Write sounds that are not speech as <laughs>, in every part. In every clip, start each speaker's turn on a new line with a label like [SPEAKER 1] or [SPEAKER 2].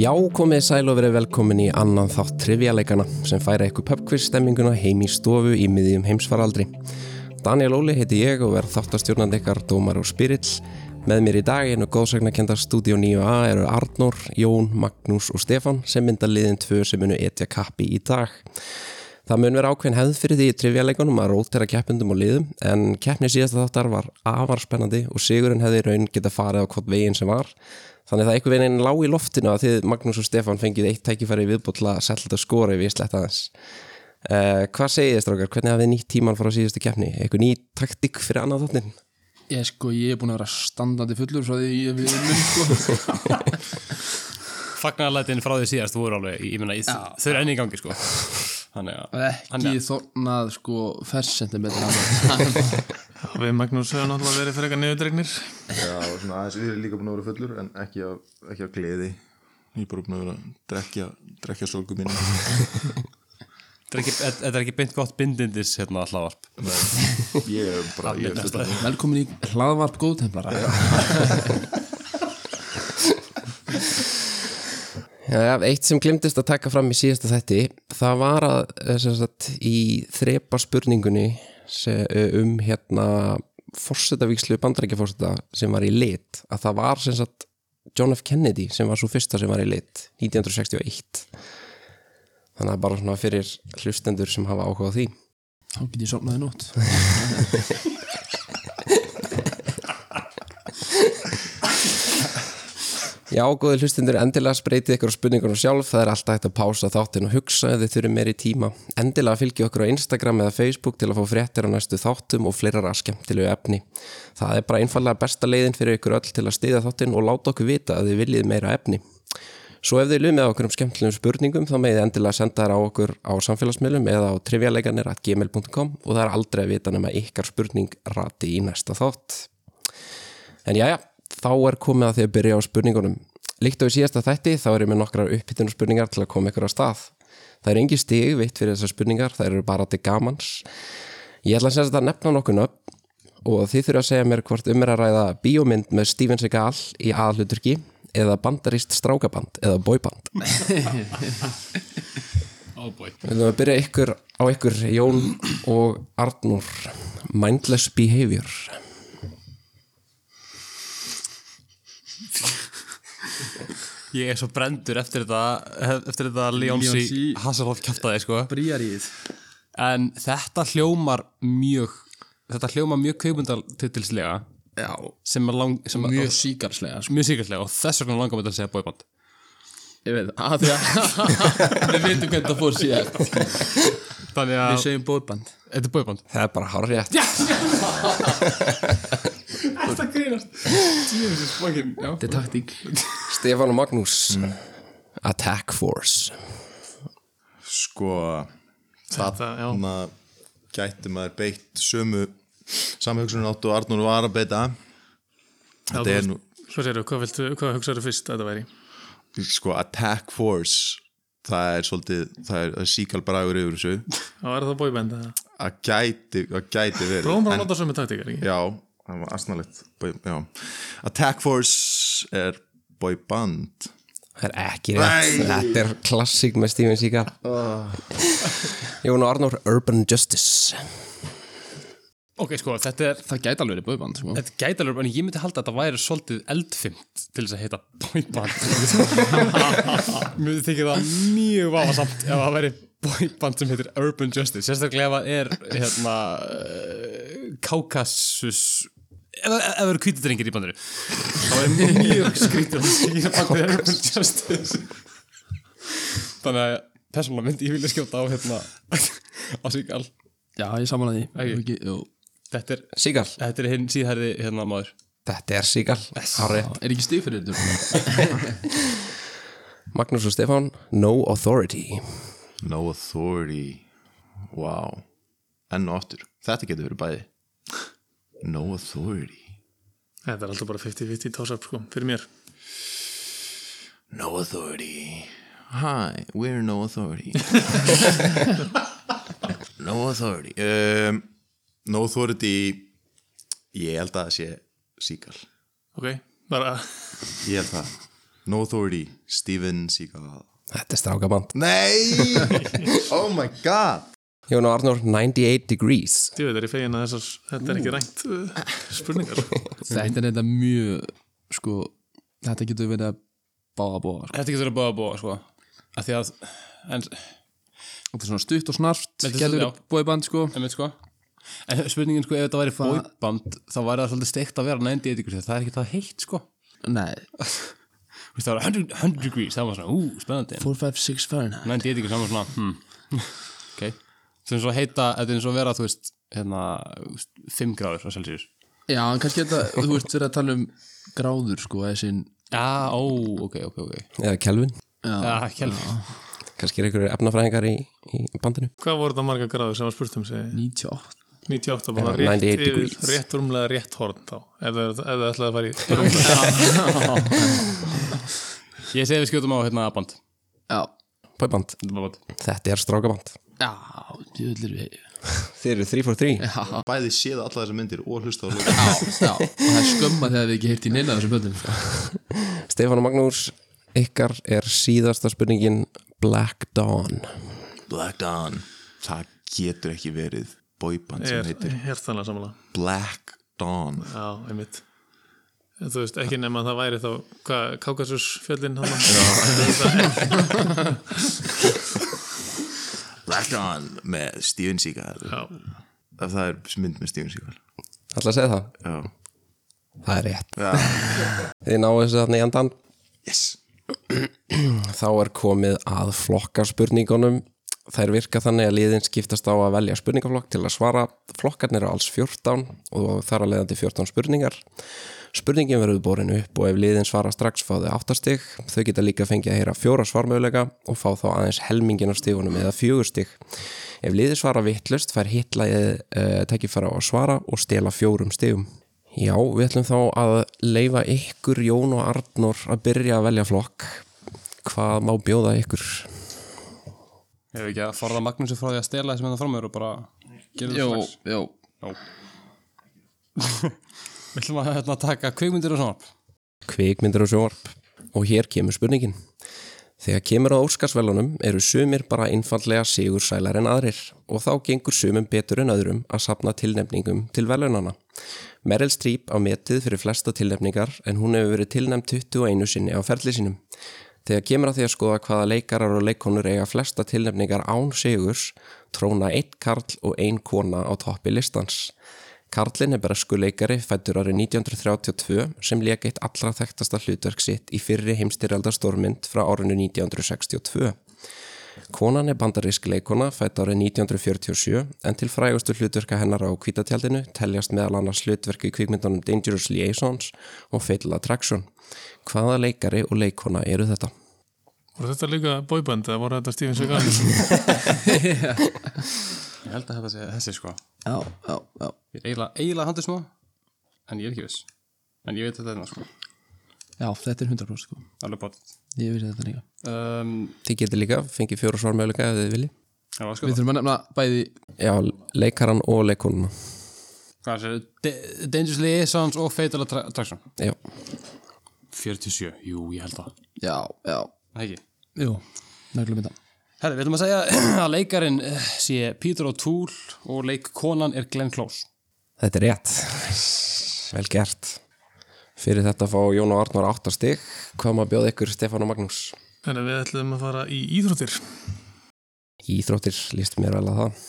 [SPEAKER 1] Já, komið sæl og verið velkomin í annan þátt trivjaleikana sem færa ykkur pubquiz-stemminguna heim í stofu í miðjum heimsfaraldri. Daniel Óli heiti ég og verð þáttastjórnandi ykkar dómar og spirill. Með mér í dag einu góðsagnakenda Studio 9a eru Arnór, Jón, Magnús og Stefan sem mynda liðin tvö sem munu etja kappi í dag. Það mun vera ákveðin hefð fyrir því í trivjalegunum að rótera keppendum og liðum en keppni síðasta þáttar var afar spennandi og sigurinn hefði í raun geta farið á hvort veginn sem var. Þannig það einhver veginn lág í loftinu að þið Magnús og Stefan fengið eitt tækifæri viðbútla að selta skora ef ég slett aðeins. Uh, hvað segið þið strákar? Hvernig hafið þið nýtt tíman frá síðustu keppni? Eitthvað ný taktík fyrir annað þáttin?
[SPEAKER 2] Ég sko, ég er búin að vera standandi fullur svo því ég við mun <laughs> sko
[SPEAKER 3] fagnarlætin frá því síðast voru alveg ég meina, ja. þau eru enn í gangi sko þannig að
[SPEAKER 2] ekki þornað sko fersentimetra af mér.
[SPEAKER 4] Við Magnús höfum náttúrulega verið fyrir eitthvað niðurdregnir
[SPEAKER 5] Já, og svona aðeins við erum líka búin að vera fullur en ekki af, ekki af gleði
[SPEAKER 4] Ég er bara búin að vera að drekja, drekja sorgu mín
[SPEAKER 3] þetta er ekki, þetta þetta er ekki beint gott bindindis hérna hlávarp
[SPEAKER 5] <laughs> Ég er bara, ég er fullur
[SPEAKER 2] Velkomin í hlaðvarp góðtemplara
[SPEAKER 1] Já, eitt sem glimtist að taka fram í síðasta þætti það var að eh, sem sagt, í þrepa spurningunni se- um hérna fórsetavíkslu bandarækjafórseta sem var í lit að það var sem sagt John F. Kennedy sem var svo fyrsta sem var í lit 1961 þannig að bara svona fyrir hlustendur sem hafa áhuga á því
[SPEAKER 2] Þá get ég sopnaði nótt
[SPEAKER 1] Já, góði hlustendur, endilega spreytið ykkur á spurningunum sjálf, það er alltaf hægt að pása þáttin og hugsa ef þið þurfið meiri tíma. Endilega fylgjið okkur á Instagram eða Facebook til að fá fréttir á næstu þáttum og fleira raskemtilegu efni. Það er bara einfallega besta leiðin fyrir ykkur öll til að stiða þáttin og láta okkur vita að þið viljið meira efni. Svo ef þið lumið á okkur um skemmtilegum spurningum þá meðið endilega senda þær á okkur á samfélagsmiðlum eða á trivialeganir.gmail.com og það er aldrei að vita nema ykkar spurning rati í næsta þátt. En jæja, þá er komið að því að byrja á spurningunum. Líkt á í síðasta þætti þá er ég með nokkrar uppbytun spurningar til að koma ykkur á stað. Það er engi stig veitt fyrir þessar spurningar, það eru bara til gamans. Ég ætla að segja þetta að nefna nokkuð upp og þið þurfa að segja mér hvort um er að ræða bíómynd með Steven Seagal í aðhluturki eða bandarist strákaband eða boyband.
[SPEAKER 3] oh boy
[SPEAKER 1] Við ætlum að byrja ykkur á ykkur Jón og Arnur. Mindless behavior.
[SPEAKER 3] ég er svo brendur eftir þetta eftir þetta Leonsi
[SPEAKER 2] Leonsi-
[SPEAKER 3] Hasselhoff kæftaði sko
[SPEAKER 2] Brýjar í þið
[SPEAKER 3] en þetta hljómar mjög þetta hljómar mjög kaupundaltitilslega
[SPEAKER 2] Já
[SPEAKER 3] sem er lang, sem er
[SPEAKER 2] Mjög síkarslega sko
[SPEAKER 3] mjög sikirslega og þess vegna langar mér til að segja bóiband
[SPEAKER 2] Ég veit það af því að Við veitum hvernig það fór síðast Við <laughs>
[SPEAKER 3] þannig að
[SPEAKER 2] segjum bóðband
[SPEAKER 3] þetta er bóiband
[SPEAKER 1] Það er bara harrið.
[SPEAKER 3] þetta grínast Jesus fucking já
[SPEAKER 2] Þetta er taktík
[SPEAKER 1] Stefán og Magnús. Attack Force.
[SPEAKER 5] Sko,
[SPEAKER 4] Þetta, já,
[SPEAKER 5] þannig að gæti maður beitt sömu samhugsunum áttu og Arnur var að beita Þetta er nú,
[SPEAKER 4] svo séru, hvað, viltu, hvað hugsaðu fyrst að þetta væri?
[SPEAKER 5] sko, Attack Force Það er svolítið, það er, það er síkal bragur yfir þessu
[SPEAKER 4] Það var það bóibend að
[SPEAKER 5] Að gæti, að gæti verið
[SPEAKER 4] Prófum bara
[SPEAKER 5] En-
[SPEAKER 4] að nota sömu taktíkar, ekki?
[SPEAKER 5] Já, það var asnalegt Bau- já. Attack Force er boyband
[SPEAKER 1] Það er ekki rétt, þetta er klassík með Steven Seagal Jón og Arnór, Urban Justice
[SPEAKER 3] ok sko þetta er
[SPEAKER 2] Það gæti alveg verið bóðband sko
[SPEAKER 3] Þetta gæti alveg, en ég myndi halda að þetta væri svolítið eldfimt til þess að heita
[SPEAKER 2] <laughs>
[SPEAKER 3] boyband Mér þykir það mjög vafasamt ef það væri boyband sem heitir Urban Justice sérstaklega ef það er hérna eh, Kaukasus ef ef það eru kvítidrengir í bandinu þá er mjög skrítið að skýra bandið er Urban Justice Þannig að persónulega myndi ég vilja skjóta á hérna á Sigal
[SPEAKER 2] Já, ég saman að því
[SPEAKER 3] Ekki.
[SPEAKER 2] Ekki, jú.
[SPEAKER 3] Þetta er,
[SPEAKER 1] Seagal,
[SPEAKER 3] þetta er hinn síðherði hérna maður
[SPEAKER 1] þetta er Seagal Harri.
[SPEAKER 2] Er ekki stíf fyrir þetta?
[SPEAKER 1] Magnús og Stefán, No Authority
[SPEAKER 5] No Authority Wow Enn og aftur, þetta getur verið bæði No Authority
[SPEAKER 4] Þetta er alltaf bara 50-50 tásap, sko, fyrir mér
[SPEAKER 5] No Authority Hi, we're No <laughs> Authority No Authority um, No Authority Ég held að það sé síkal
[SPEAKER 4] Ok, bara <laughs>
[SPEAKER 5] Ég held það No Authority, Steven Seagal
[SPEAKER 1] Þetta er strákaband
[SPEAKER 5] Nei, <laughs> oh my god
[SPEAKER 1] Jón og Arnór, 98 Degrees
[SPEAKER 4] Ég veit, er ég fegin að þessar, þetta er ekki rænt uh, spurningar.
[SPEAKER 2] Þetta er þetta mjög sko, þetta getur verið að báða bóða sko.
[SPEAKER 3] Þetta getur að búa að búa, sko að Því að, en,
[SPEAKER 2] Þetta er svona stutt og snart
[SPEAKER 3] Þetta er
[SPEAKER 2] getur
[SPEAKER 3] svo-
[SPEAKER 2] verið bóðband sko.
[SPEAKER 3] einmitt, sko En spurningin, sko, ef þetta væri bóiband þá væri það svolítið steikt að vera 90 degrees það er ekki það heitt, sko
[SPEAKER 2] Nei,
[SPEAKER 3] Þú veist, það var 100, 100 degrees, það var svona, ú, spennandi
[SPEAKER 2] 456 Fahrenheit
[SPEAKER 3] 90 degrees, það var svona, hmm Ok, það er svo heita, þetta er eins og vera, þú veist hérna, þú veist, 5 gráður á Celsius
[SPEAKER 2] Já, en kannski þetta, þú veist, verið að tala um gráður sko, þessin
[SPEAKER 3] Já, Ah, ó, ok, ok, ok Ah,
[SPEAKER 1] eða Kelvin,
[SPEAKER 3] Já, kelvin
[SPEAKER 1] kannski er einhverjir efnafræðingar í, í bandinu
[SPEAKER 4] Hvað voru það marga gráður sem var spurt um sig?
[SPEAKER 2] 98
[SPEAKER 4] 98 bara
[SPEAKER 1] Já,
[SPEAKER 4] rétt,
[SPEAKER 1] 98
[SPEAKER 4] yfir,
[SPEAKER 1] degrees.
[SPEAKER 4] rétt rúmlega rétt horn þá ef það- ef það ætlaði að fara <laughs> í
[SPEAKER 3] Ég segi við skjótum á hérna band
[SPEAKER 2] Já,
[SPEAKER 1] Póiband,
[SPEAKER 3] Band
[SPEAKER 1] þetta er strákaband
[SPEAKER 2] já, djöðlir við
[SPEAKER 1] Þeir eru 343
[SPEAKER 2] Já, já,
[SPEAKER 5] Bæði séð alla þessar myndir og hlusta á hlusta
[SPEAKER 2] já, og það er skömma þegar við ekki heyrti í neina af þessum böndum sko.
[SPEAKER 1] Stefán og Magnús, ykkar er síðasta spurningin Black Dawn
[SPEAKER 5] Black Dawn Það getur ekki verið boyband sem heitir
[SPEAKER 4] er hérstanlega samanlega
[SPEAKER 5] Black Dawn
[SPEAKER 4] Já, einmitt En Þú veist, ekki nema að það væri þá hvað, Kaukasus fjöllin hann <laughs> Það
[SPEAKER 5] Black Dawn með Steven Seagal
[SPEAKER 4] Já.
[SPEAKER 5] Ef það er mynd með Steven Seagal
[SPEAKER 1] Ætla að segja það?
[SPEAKER 5] Já.
[SPEAKER 1] Það er rétt Þið náðu þessu þarna í andan
[SPEAKER 5] Yes
[SPEAKER 1] Þá er komið að flokka spurningunum Þær virka þannig að liðin skiptast á að velja spurningaflokk til að svara Flokkarnir eru alls 14 og þar að leiðandi 14 spurningar Spurningin verður borin upp og ef liðin svara strax fá þau áttastig Þau geta líka fengið að heyra fjóra svarmöguleika og fá þá aðeins helmingin á stigunum eða fjögurstig Ef liðið svara vittlust fær hitlaðið uh, tekifæra á að svara og stela fjórum stigum Já, við ætlum þá að leifa ykkur Jón og Arnór að byrja að velja flokk. Hvað má bjóða ykkur?
[SPEAKER 3] Hefur ekki að forða Magnúsi frá því að stela þessum hérna framöður og bara gera
[SPEAKER 2] Jó,
[SPEAKER 3] það strax
[SPEAKER 2] jó,
[SPEAKER 3] Við ætlum að hérna, taka kveikmyndir og svona
[SPEAKER 1] Kvikmyndir og sjóarp. Og hér kemur spurningin. Þegar kemur að Óskarsvelunum eru sumir bara einfallega sigur sælar en aðrir og þá gengur sumum betur en öðrum að sapna tilnefningum til velunana. Meryl Streep á metið fyrir flesta tilnefningar en hún hefur verið tilnefnd 21 sinni á ferli sínum. Þegar kemur að því að skoða hvaða leikarar og leikonur eiga flesta tilnefningar án sigurs, tróna einn karl og ein kona á toppi listans. Karlinn er bresku leikari fættur árið 1932 sem leik eitt allra þekktasta hlutverk sitt í fyrri heimstyrjaldastormynd frá árinu 1962. Konan er bandarísk leikona fætt árið 1947 en til frægustu hlutverka hennar á kvítatjaldinu teljast meðal annars hlutverk í kvikmyndunum Dangerous Liaisons og Fatal Attraction. Hvaða leikari og leikona eru þetta?
[SPEAKER 4] Voru þetta líka bóiband eða voru þetta Steven
[SPEAKER 5] <laughs>
[SPEAKER 4] Seagal?
[SPEAKER 3] Ég held að þetta sé þessi sko
[SPEAKER 2] já, já, já
[SPEAKER 3] Ég er eiginlega, eiginlega handið smá En ég er ekki viss En ég veit þetta hérna sko
[SPEAKER 2] Já, þetta er 100% sko,
[SPEAKER 3] Alveg bort
[SPEAKER 2] ég vissi þetta líka
[SPEAKER 3] um,
[SPEAKER 1] Þið getur líka, fengið fjóra svarmjöðleika ef þið viljið.
[SPEAKER 3] Já, sko
[SPEAKER 2] Við þurfum að nefna bæði
[SPEAKER 1] Já, leikaran og leikonuna.
[SPEAKER 3] Hvað það sé Dangerous Liaisons og Fatal Attra- Attraction
[SPEAKER 1] Já,
[SPEAKER 3] 47, jú, ég held það
[SPEAKER 2] Já, já,
[SPEAKER 3] Það ekki
[SPEAKER 2] jú, nöglum þetta
[SPEAKER 3] Herri, við ætlum að segja <clears throat> að leikarin eh, sé Peter O'Toole og leikkonan er Glenn Close
[SPEAKER 1] Þetta er rétt. Vel gert. Fyrir þetta fá Jón og Arnur áttastig. Hvað maður bjóð ykkur Stefán og Magnús?
[SPEAKER 4] Þannig að við ætlum að fara í íþróttir
[SPEAKER 1] Íþróttir líst mér vel að það.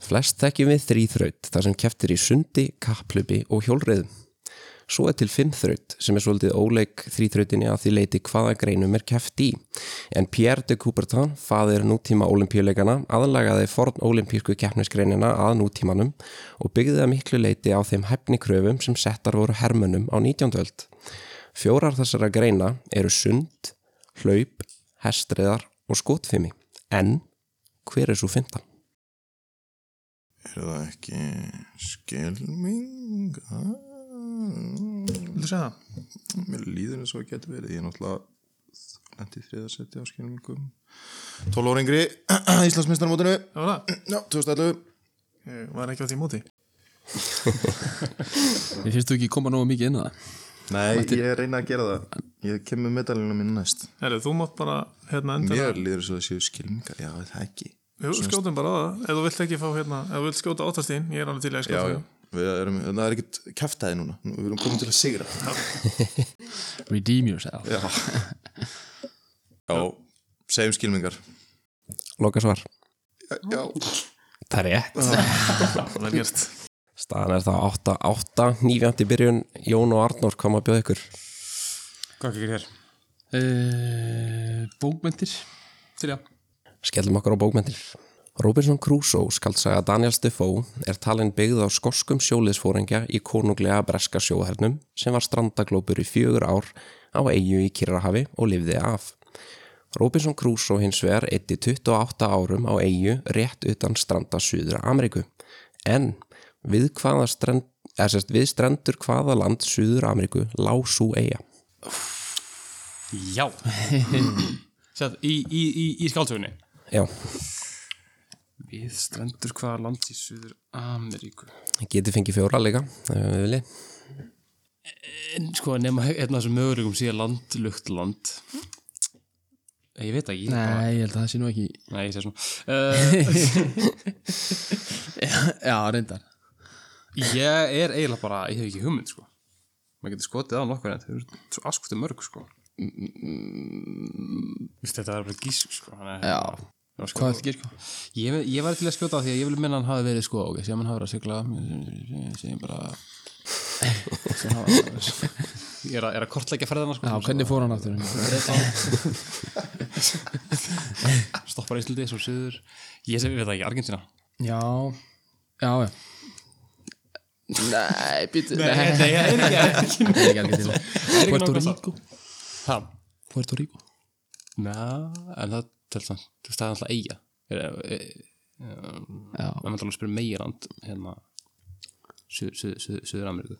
[SPEAKER 1] Flest þekkjum við þrýþraut þar sem keftir í sundi, kapplupi og hjólreiðum. Svo er til fimmþraut sem er svolítið óleik þrýþrautinni að því leiti hvaða greinum er keft í. En Pierre de Coubertin, faðir nútíma olimpíuleikana, aðlagaði forn olimpísku keppnisgreinina að nútímanum og byggði að miklu leiti á þeim hefnikröfum sem settar voru hermönum á 19. öld. Fjórar þessara greina eru sund, hlaup, hestriðar og skotfimi. En hver er svo fynda?
[SPEAKER 5] Er það ekki skelming? Ah.
[SPEAKER 4] Viltu segja það?
[SPEAKER 5] Mér líður eins og það getur verið Ég er náttúrulega lendi þriðarsetti á skelmingum 12 ára yngri <clears throat> Íslandsmeistarmótinu
[SPEAKER 4] Það var það?
[SPEAKER 5] Já, 2011
[SPEAKER 4] Ég var ekki á því móti
[SPEAKER 2] Ég finnst þú ekki koma nógu mikið inn á það
[SPEAKER 5] Nei, ég reyna að gera það Ég kemur medalina mín næst
[SPEAKER 4] Herru, þú mátt bara hérna endilega
[SPEAKER 5] Mér líður svo að séu skilmingar Já, það er ekki
[SPEAKER 4] Jú, skjótum bara á það, ef þú vilt ekki fá hérna ef þú vilt skjóta áttastín, ég er alveg til í að
[SPEAKER 5] Já,
[SPEAKER 4] skjóta
[SPEAKER 5] já, við erum, það er ekkert kæftæði núna Nú, Við erum komin til að sigra
[SPEAKER 2] Redeem yourself
[SPEAKER 5] Já Já, segjum skilmingar
[SPEAKER 1] Loka svar
[SPEAKER 5] Já,
[SPEAKER 1] Það er rétt
[SPEAKER 4] það vel gert
[SPEAKER 1] Staðan er þá 8-8 Nýfjönd í byrjun Jón og Arnór kom að bjóða ykkur
[SPEAKER 3] Hvað ekki hér?
[SPEAKER 2] uh, Bókmyndir Þrjá
[SPEAKER 1] Skellum okkur á bókmentir Robinson Crusoe skaldsaga Daniel Defoe er talin byggð á skoskum sjóliðsfóringja í konunglega breska sjóhernum sem var strandaglópur í fjögur ár á eigu í Kirrahafi og lifði af. Robinson Crusoe hins vegar eitti 28 árum á eigu rétt utan stranda Suðra Ameríku. En við, hvaða strend, eða sérst, við strendur hvaða land Suðra Ameríku lág svo eiga?
[SPEAKER 3] Já Sætt, í, í, í, í skáldsögunni
[SPEAKER 1] Já,
[SPEAKER 2] Við strendur hvaða land í Suður Ameríku
[SPEAKER 1] geti fengið fjóra líka, ef við viljið.
[SPEAKER 3] En sko, nema hérna þessum möguleikum síðan land, lukt land Eh, Ég veit ekki ég bara-
[SPEAKER 2] Nei, ég held að það sé nú ekki
[SPEAKER 3] Nei, ég sé svona uh,
[SPEAKER 2] Já, reyndar
[SPEAKER 3] <laughs> Ég er eiginlega bara, ég hef ekki hugmynd sko Maður getur skotið á nokkur en þau eru svo askutu mörg sko
[SPEAKER 2] Mm,
[SPEAKER 3] Vist, Þetta er bara gísk sko þannig að-
[SPEAKER 2] Já.
[SPEAKER 3] Já, sko,
[SPEAKER 2] Hvað þetta sko?
[SPEAKER 3] Ég, ég var til að skjóta á því að ég vil minna hann hafi verið sko ok, sem hann hafi verið að sigla sem- sem bara <laughs> sem hafi ég er að, er að kortleggja ferðina sko
[SPEAKER 2] Já, hvernig fór hann <laughs> aftur?
[SPEAKER 3] stoppar Íslandi, svo söður ég sem við veit það ekki, Argentina
[SPEAKER 2] Já, já, já Nei, býttu Nei, <laughs>
[SPEAKER 3] nei, ég er ekki
[SPEAKER 2] það
[SPEAKER 3] <laughs>
[SPEAKER 2] er ekki alveg til Puerto
[SPEAKER 3] nóg
[SPEAKER 2] Rico
[SPEAKER 3] ha,
[SPEAKER 2] Puerto Rico
[SPEAKER 3] na, en það tölst hann, þú veist það er alltaf eiga er, er, er,
[SPEAKER 2] Já.
[SPEAKER 3] maður myndi alveg að spyrja meirand hérna Suður- Suður- Suður- Suður-Ameríku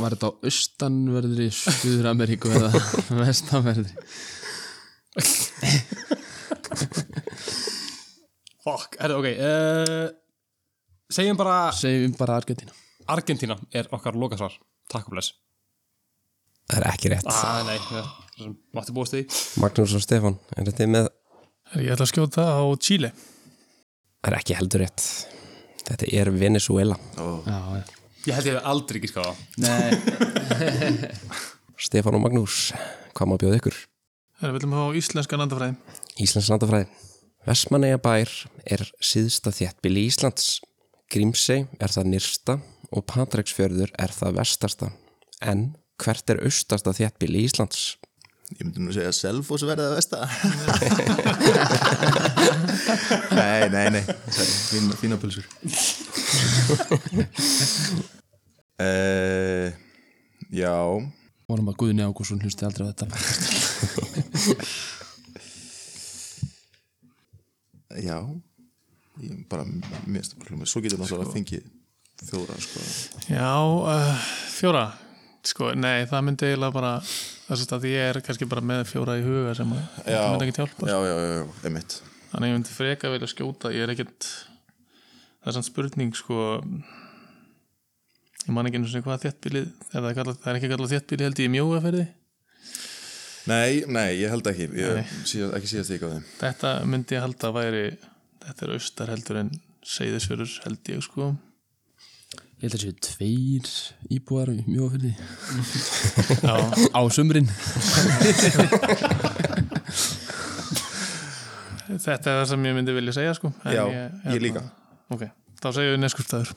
[SPEAKER 2] Var þetta á austanverðri Suður Ameríku eða <laughs> vestanverðri
[SPEAKER 3] Fuck, er, ok uh, segjum bara
[SPEAKER 2] Segjum bara Argentina
[SPEAKER 3] Argentina er okkar lokasvar takk og bless
[SPEAKER 1] Það er ekki rétt.
[SPEAKER 3] ah, nei, ja, mátti búast því
[SPEAKER 1] Magnús og Stefán, er þetta með
[SPEAKER 4] Herru, ég ætla að skjóta á Chile
[SPEAKER 1] Það er ekki heldur rétt. Þetta er Venezuela.
[SPEAKER 2] Já, já
[SPEAKER 3] Ég held ég hef aldrei ekki skáða
[SPEAKER 2] Nei
[SPEAKER 1] Stefán og Magnús, hvað má bjóða ykkur?
[SPEAKER 4] Herru, viljum hafa íslenskan andafræði
[SPEAKER 1] Íslands landafræði. Vestmanneja er síðsta þéttbili Íslands. Grímsey er það nyrsta og Patræksfjörður er það vestasta. En hvert er austasta þéttbili Íslands?
[SPEAKER 5] ég myndi nú segja Selfoss verða að <laughs> vesta Nei, nei, nei Sorry, fína, fína pulsur uh, Já
[SPEAKER 2] Vorum að Guðni Ágússon hlusti aldrei á þetta
[SPEAKER 5] Já Ég bara, mér finnst það bara hljóma Svo getur náttúrulega að fengi þjóra sko.
[SPEAKER 4] Já, uh, fjóra Sko, nei, það myndi eiginlega bara þess að ég er kannski bara með fjóra í huga sem að það myndi ekki hjálpa
[SPEAKER 5] Já, já, já, já, emitt
[SPEAKER 4] Þannig ég myndi freka vilja skjóta, ég er ekkert það er samt spurning sko ég man ekki einu sinni hvað þéttbílið ef það, er kallað, það er ekki kallað þéttbílið held ég í mjóaferði
[SPEAKER 5] Nei, nei, ég held ekki ég, síðast, Ekki síðast ekki á þeim
[SPEAKER 4] þetta myndi ég halda að væri þetta er austar heldur en seyðisverur held ég sko
[SPEAKER 2] Ég held að séu tveir íbúar mjög fyrir því <laughs> Á sumrin
[SPEAKER 4] þetta er það sem ég myndi vilja segja sko en
[SPEAKER 5] Já, ég
[SPEAKER 4] hérna,
[SPEAKER 5] líka.
[SPEAKER 4] Ok, þá segjum við neskustæður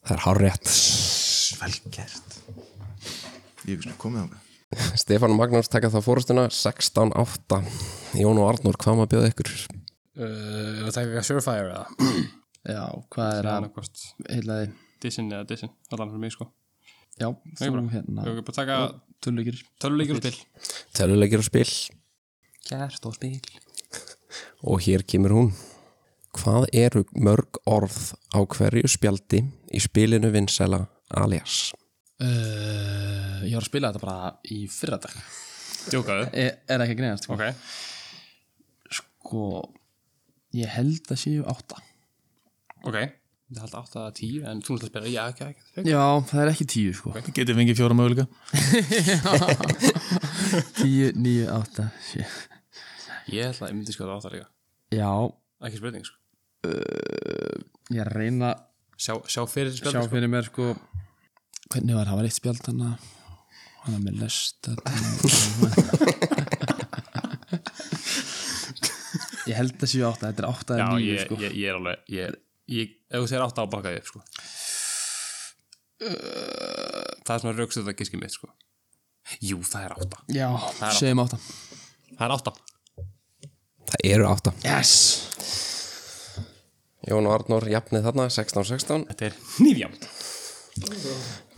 [SPEAKER 1] Það er hár rétt.
[SPEAKER 5] Vel gert Ég veist, komið á það
[SPEAKER 1] Stefán og Magnús taka það fórustuna 16-8. Jón og Arnur, hvað má bjóða ykkur?
[SPEAKER 3] Eh, Ef að taka eitthvað Surefire eða
[SPEAKER 2] Já, hvað er að
[SPEAKER 3] annarkost
[SPEAKER 2] heila þið
[SPEAKER 3] Dissin eða Dissin, allan fyrir mig sko
[SPEAKER 2] Já,
[SPEAKER 3] Nei,
[SPEAKER 2] þú
[SPEAKER 3] bara.
[SPEAKER 2] hérna
[SPEAKER 3] Ég vil bara taka
[SPEAKER 2] Tölugir
[SPEAKER 3] töluleikir og spil
[SPEAKER 1] Tölulegir og spil.
[SPEAKER 3] Kjært og spil
[SPEAKER 1] <laughs> Og hér kemur hún. Hvað eru mörg orð á hverju spjaldi í spilinu vinsæla alias?
[SPEAKER 2] uh, Ég var að spila þetta bara í fyrradag
[SPEAKER 3] Jókaðu
[SPEAKER 2] Er, E, er ekki að greiðast
[SPEAKER 3] Ok
[SPEAKER 2] Sko Ég held að séu átta
[SPEAKER 3] Ok Þetta er alltaf 8 að 10 en þú náttúrulega spyrir, já, ekki, ekki
[SPEAKER 2] Já, það er ekki tíu sko
[SPEAKER 4] Getið fengið fjóra möguleika
[SPEAKER 2] Tíu, níu, átta sjö.
[SPEAKER 3] Ég ætla að ég myndi skjóta 8 líka
[SPEAKER 2] Já,
[SPEAKER 3] Ekki spurning, sko
[SPEAKER 2] ég er að reyna að
[SPEAKER 3] Sjá, sjá fyrir
[SPEAKER 2] sjá
[SPEAKER 3] spjöldu, sko
[SPEAKER 2] fyrir mér sko Hvernig var, það var eitt spjald hann að hann að með lest <laughs> Ég held að séu átta, þetta er átta
[SPEAKER 3] Já,
[SPEAKER 2] eða níu
[SPEAKER 3] ég,
[SPEAKER 2] sko
[SPEAKER 3] ég, ég er alveg ég, ég, Ef þú segir 8 á bakaði upp, sko Það er svona raukstuð að gíski mitt, sko Jú, það er 8
[SPEAKER 2] Já, segjum átta
[SPEAKER 3] Það er 8
[SPEAKER 1] Það eru átta
[SPEAKER 2] Yes
[SPEAKER 1] Jón og Arnór jafnið þarna 16-16
[SPEAKER 3] Þetta er nýfjamt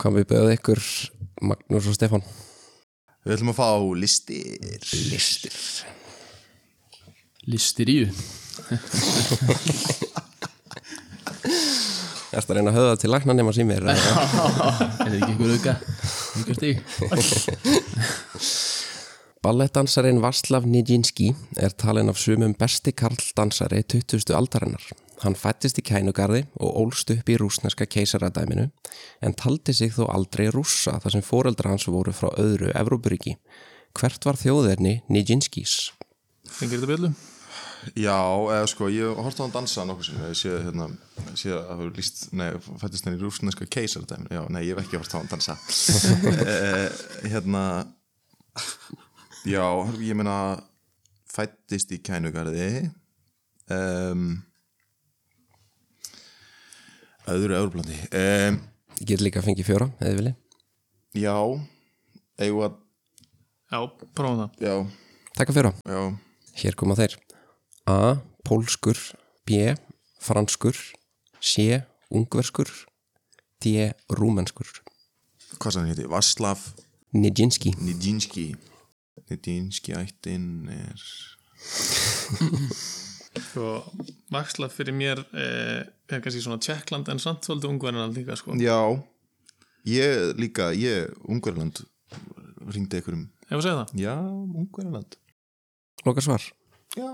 [SPEAKER 1] Hvað við bauðum ykkur Magnús og Stefán
[SPEAKER 5] Við ætlum að fá listir
[SPEAKER 1] Listir
[SPEAKER 2] Listir í
[SPEAKER 1] Ég ætla að reyna að höfða til lagna nema símir
[SPEAKER 2] Er þetta ekki einhver auka? Auka stig
[SPEAKER 1] Balletdansarin Vaslav Nijinski er talin af sumum besti karldansari 20. aldarinnar. Hann fættist í kænugarði og ólst upp í rúsneska keisaradæminu en taldi sig þó aldrei rússa þar sem foreldra hans voru frá öðru Evrópuríki. Hvert var þjóðerni Nijinskis?
[SPEAKER 4] Fengið þetta bjöldu
[SPEAKER 5] Já, eða sko, ég horfði á hann dansa nokkuð sinni, ég sé, hérna, ég sé að hafa líst, nei, fættist henni í rúsneska keisardæminu, já, nei, ég hef ekki horfði á hann dansa. eh, hérna, já, ég meina, fættist í kænugarði, um, öðru öðrublandi, um,
[SPEAKER 1] Ég get líka að fengi fjóra, eða vilji.
[SPEAKER 5] já, eigum að,
[SPEAKER 4] Já, prófum það
[SPEAKER 5] já,
[SPEAKER 1] Takk að fjóra.
[SPEAKER 5] já,
[SPEAKER 1] Hér koma þeir A. Pólskur B. Franskur C. Ungverskur D. Rúmenskur
[SPEAKER 5] hvað sem hann héti, Vaslav
[SPEAKER 1] Nijinski
[SPEAKER 5] Nidinski, Nidinski ættin er,
[SPEAKER 4] Sko, vaksla fyrir mér eh, er kannski svona Tjekkland en samt svolítið ungverðan líka sko
[SPEAKER 5] Já, ég líka, ég, Ungverland ringdi einhverjum,
[SPEAKER 4] Ef að segja það
[SPEAKER 5] já, Ungverland
[SPEAKER 1] Loka svar
[SPEAKER 5] Já,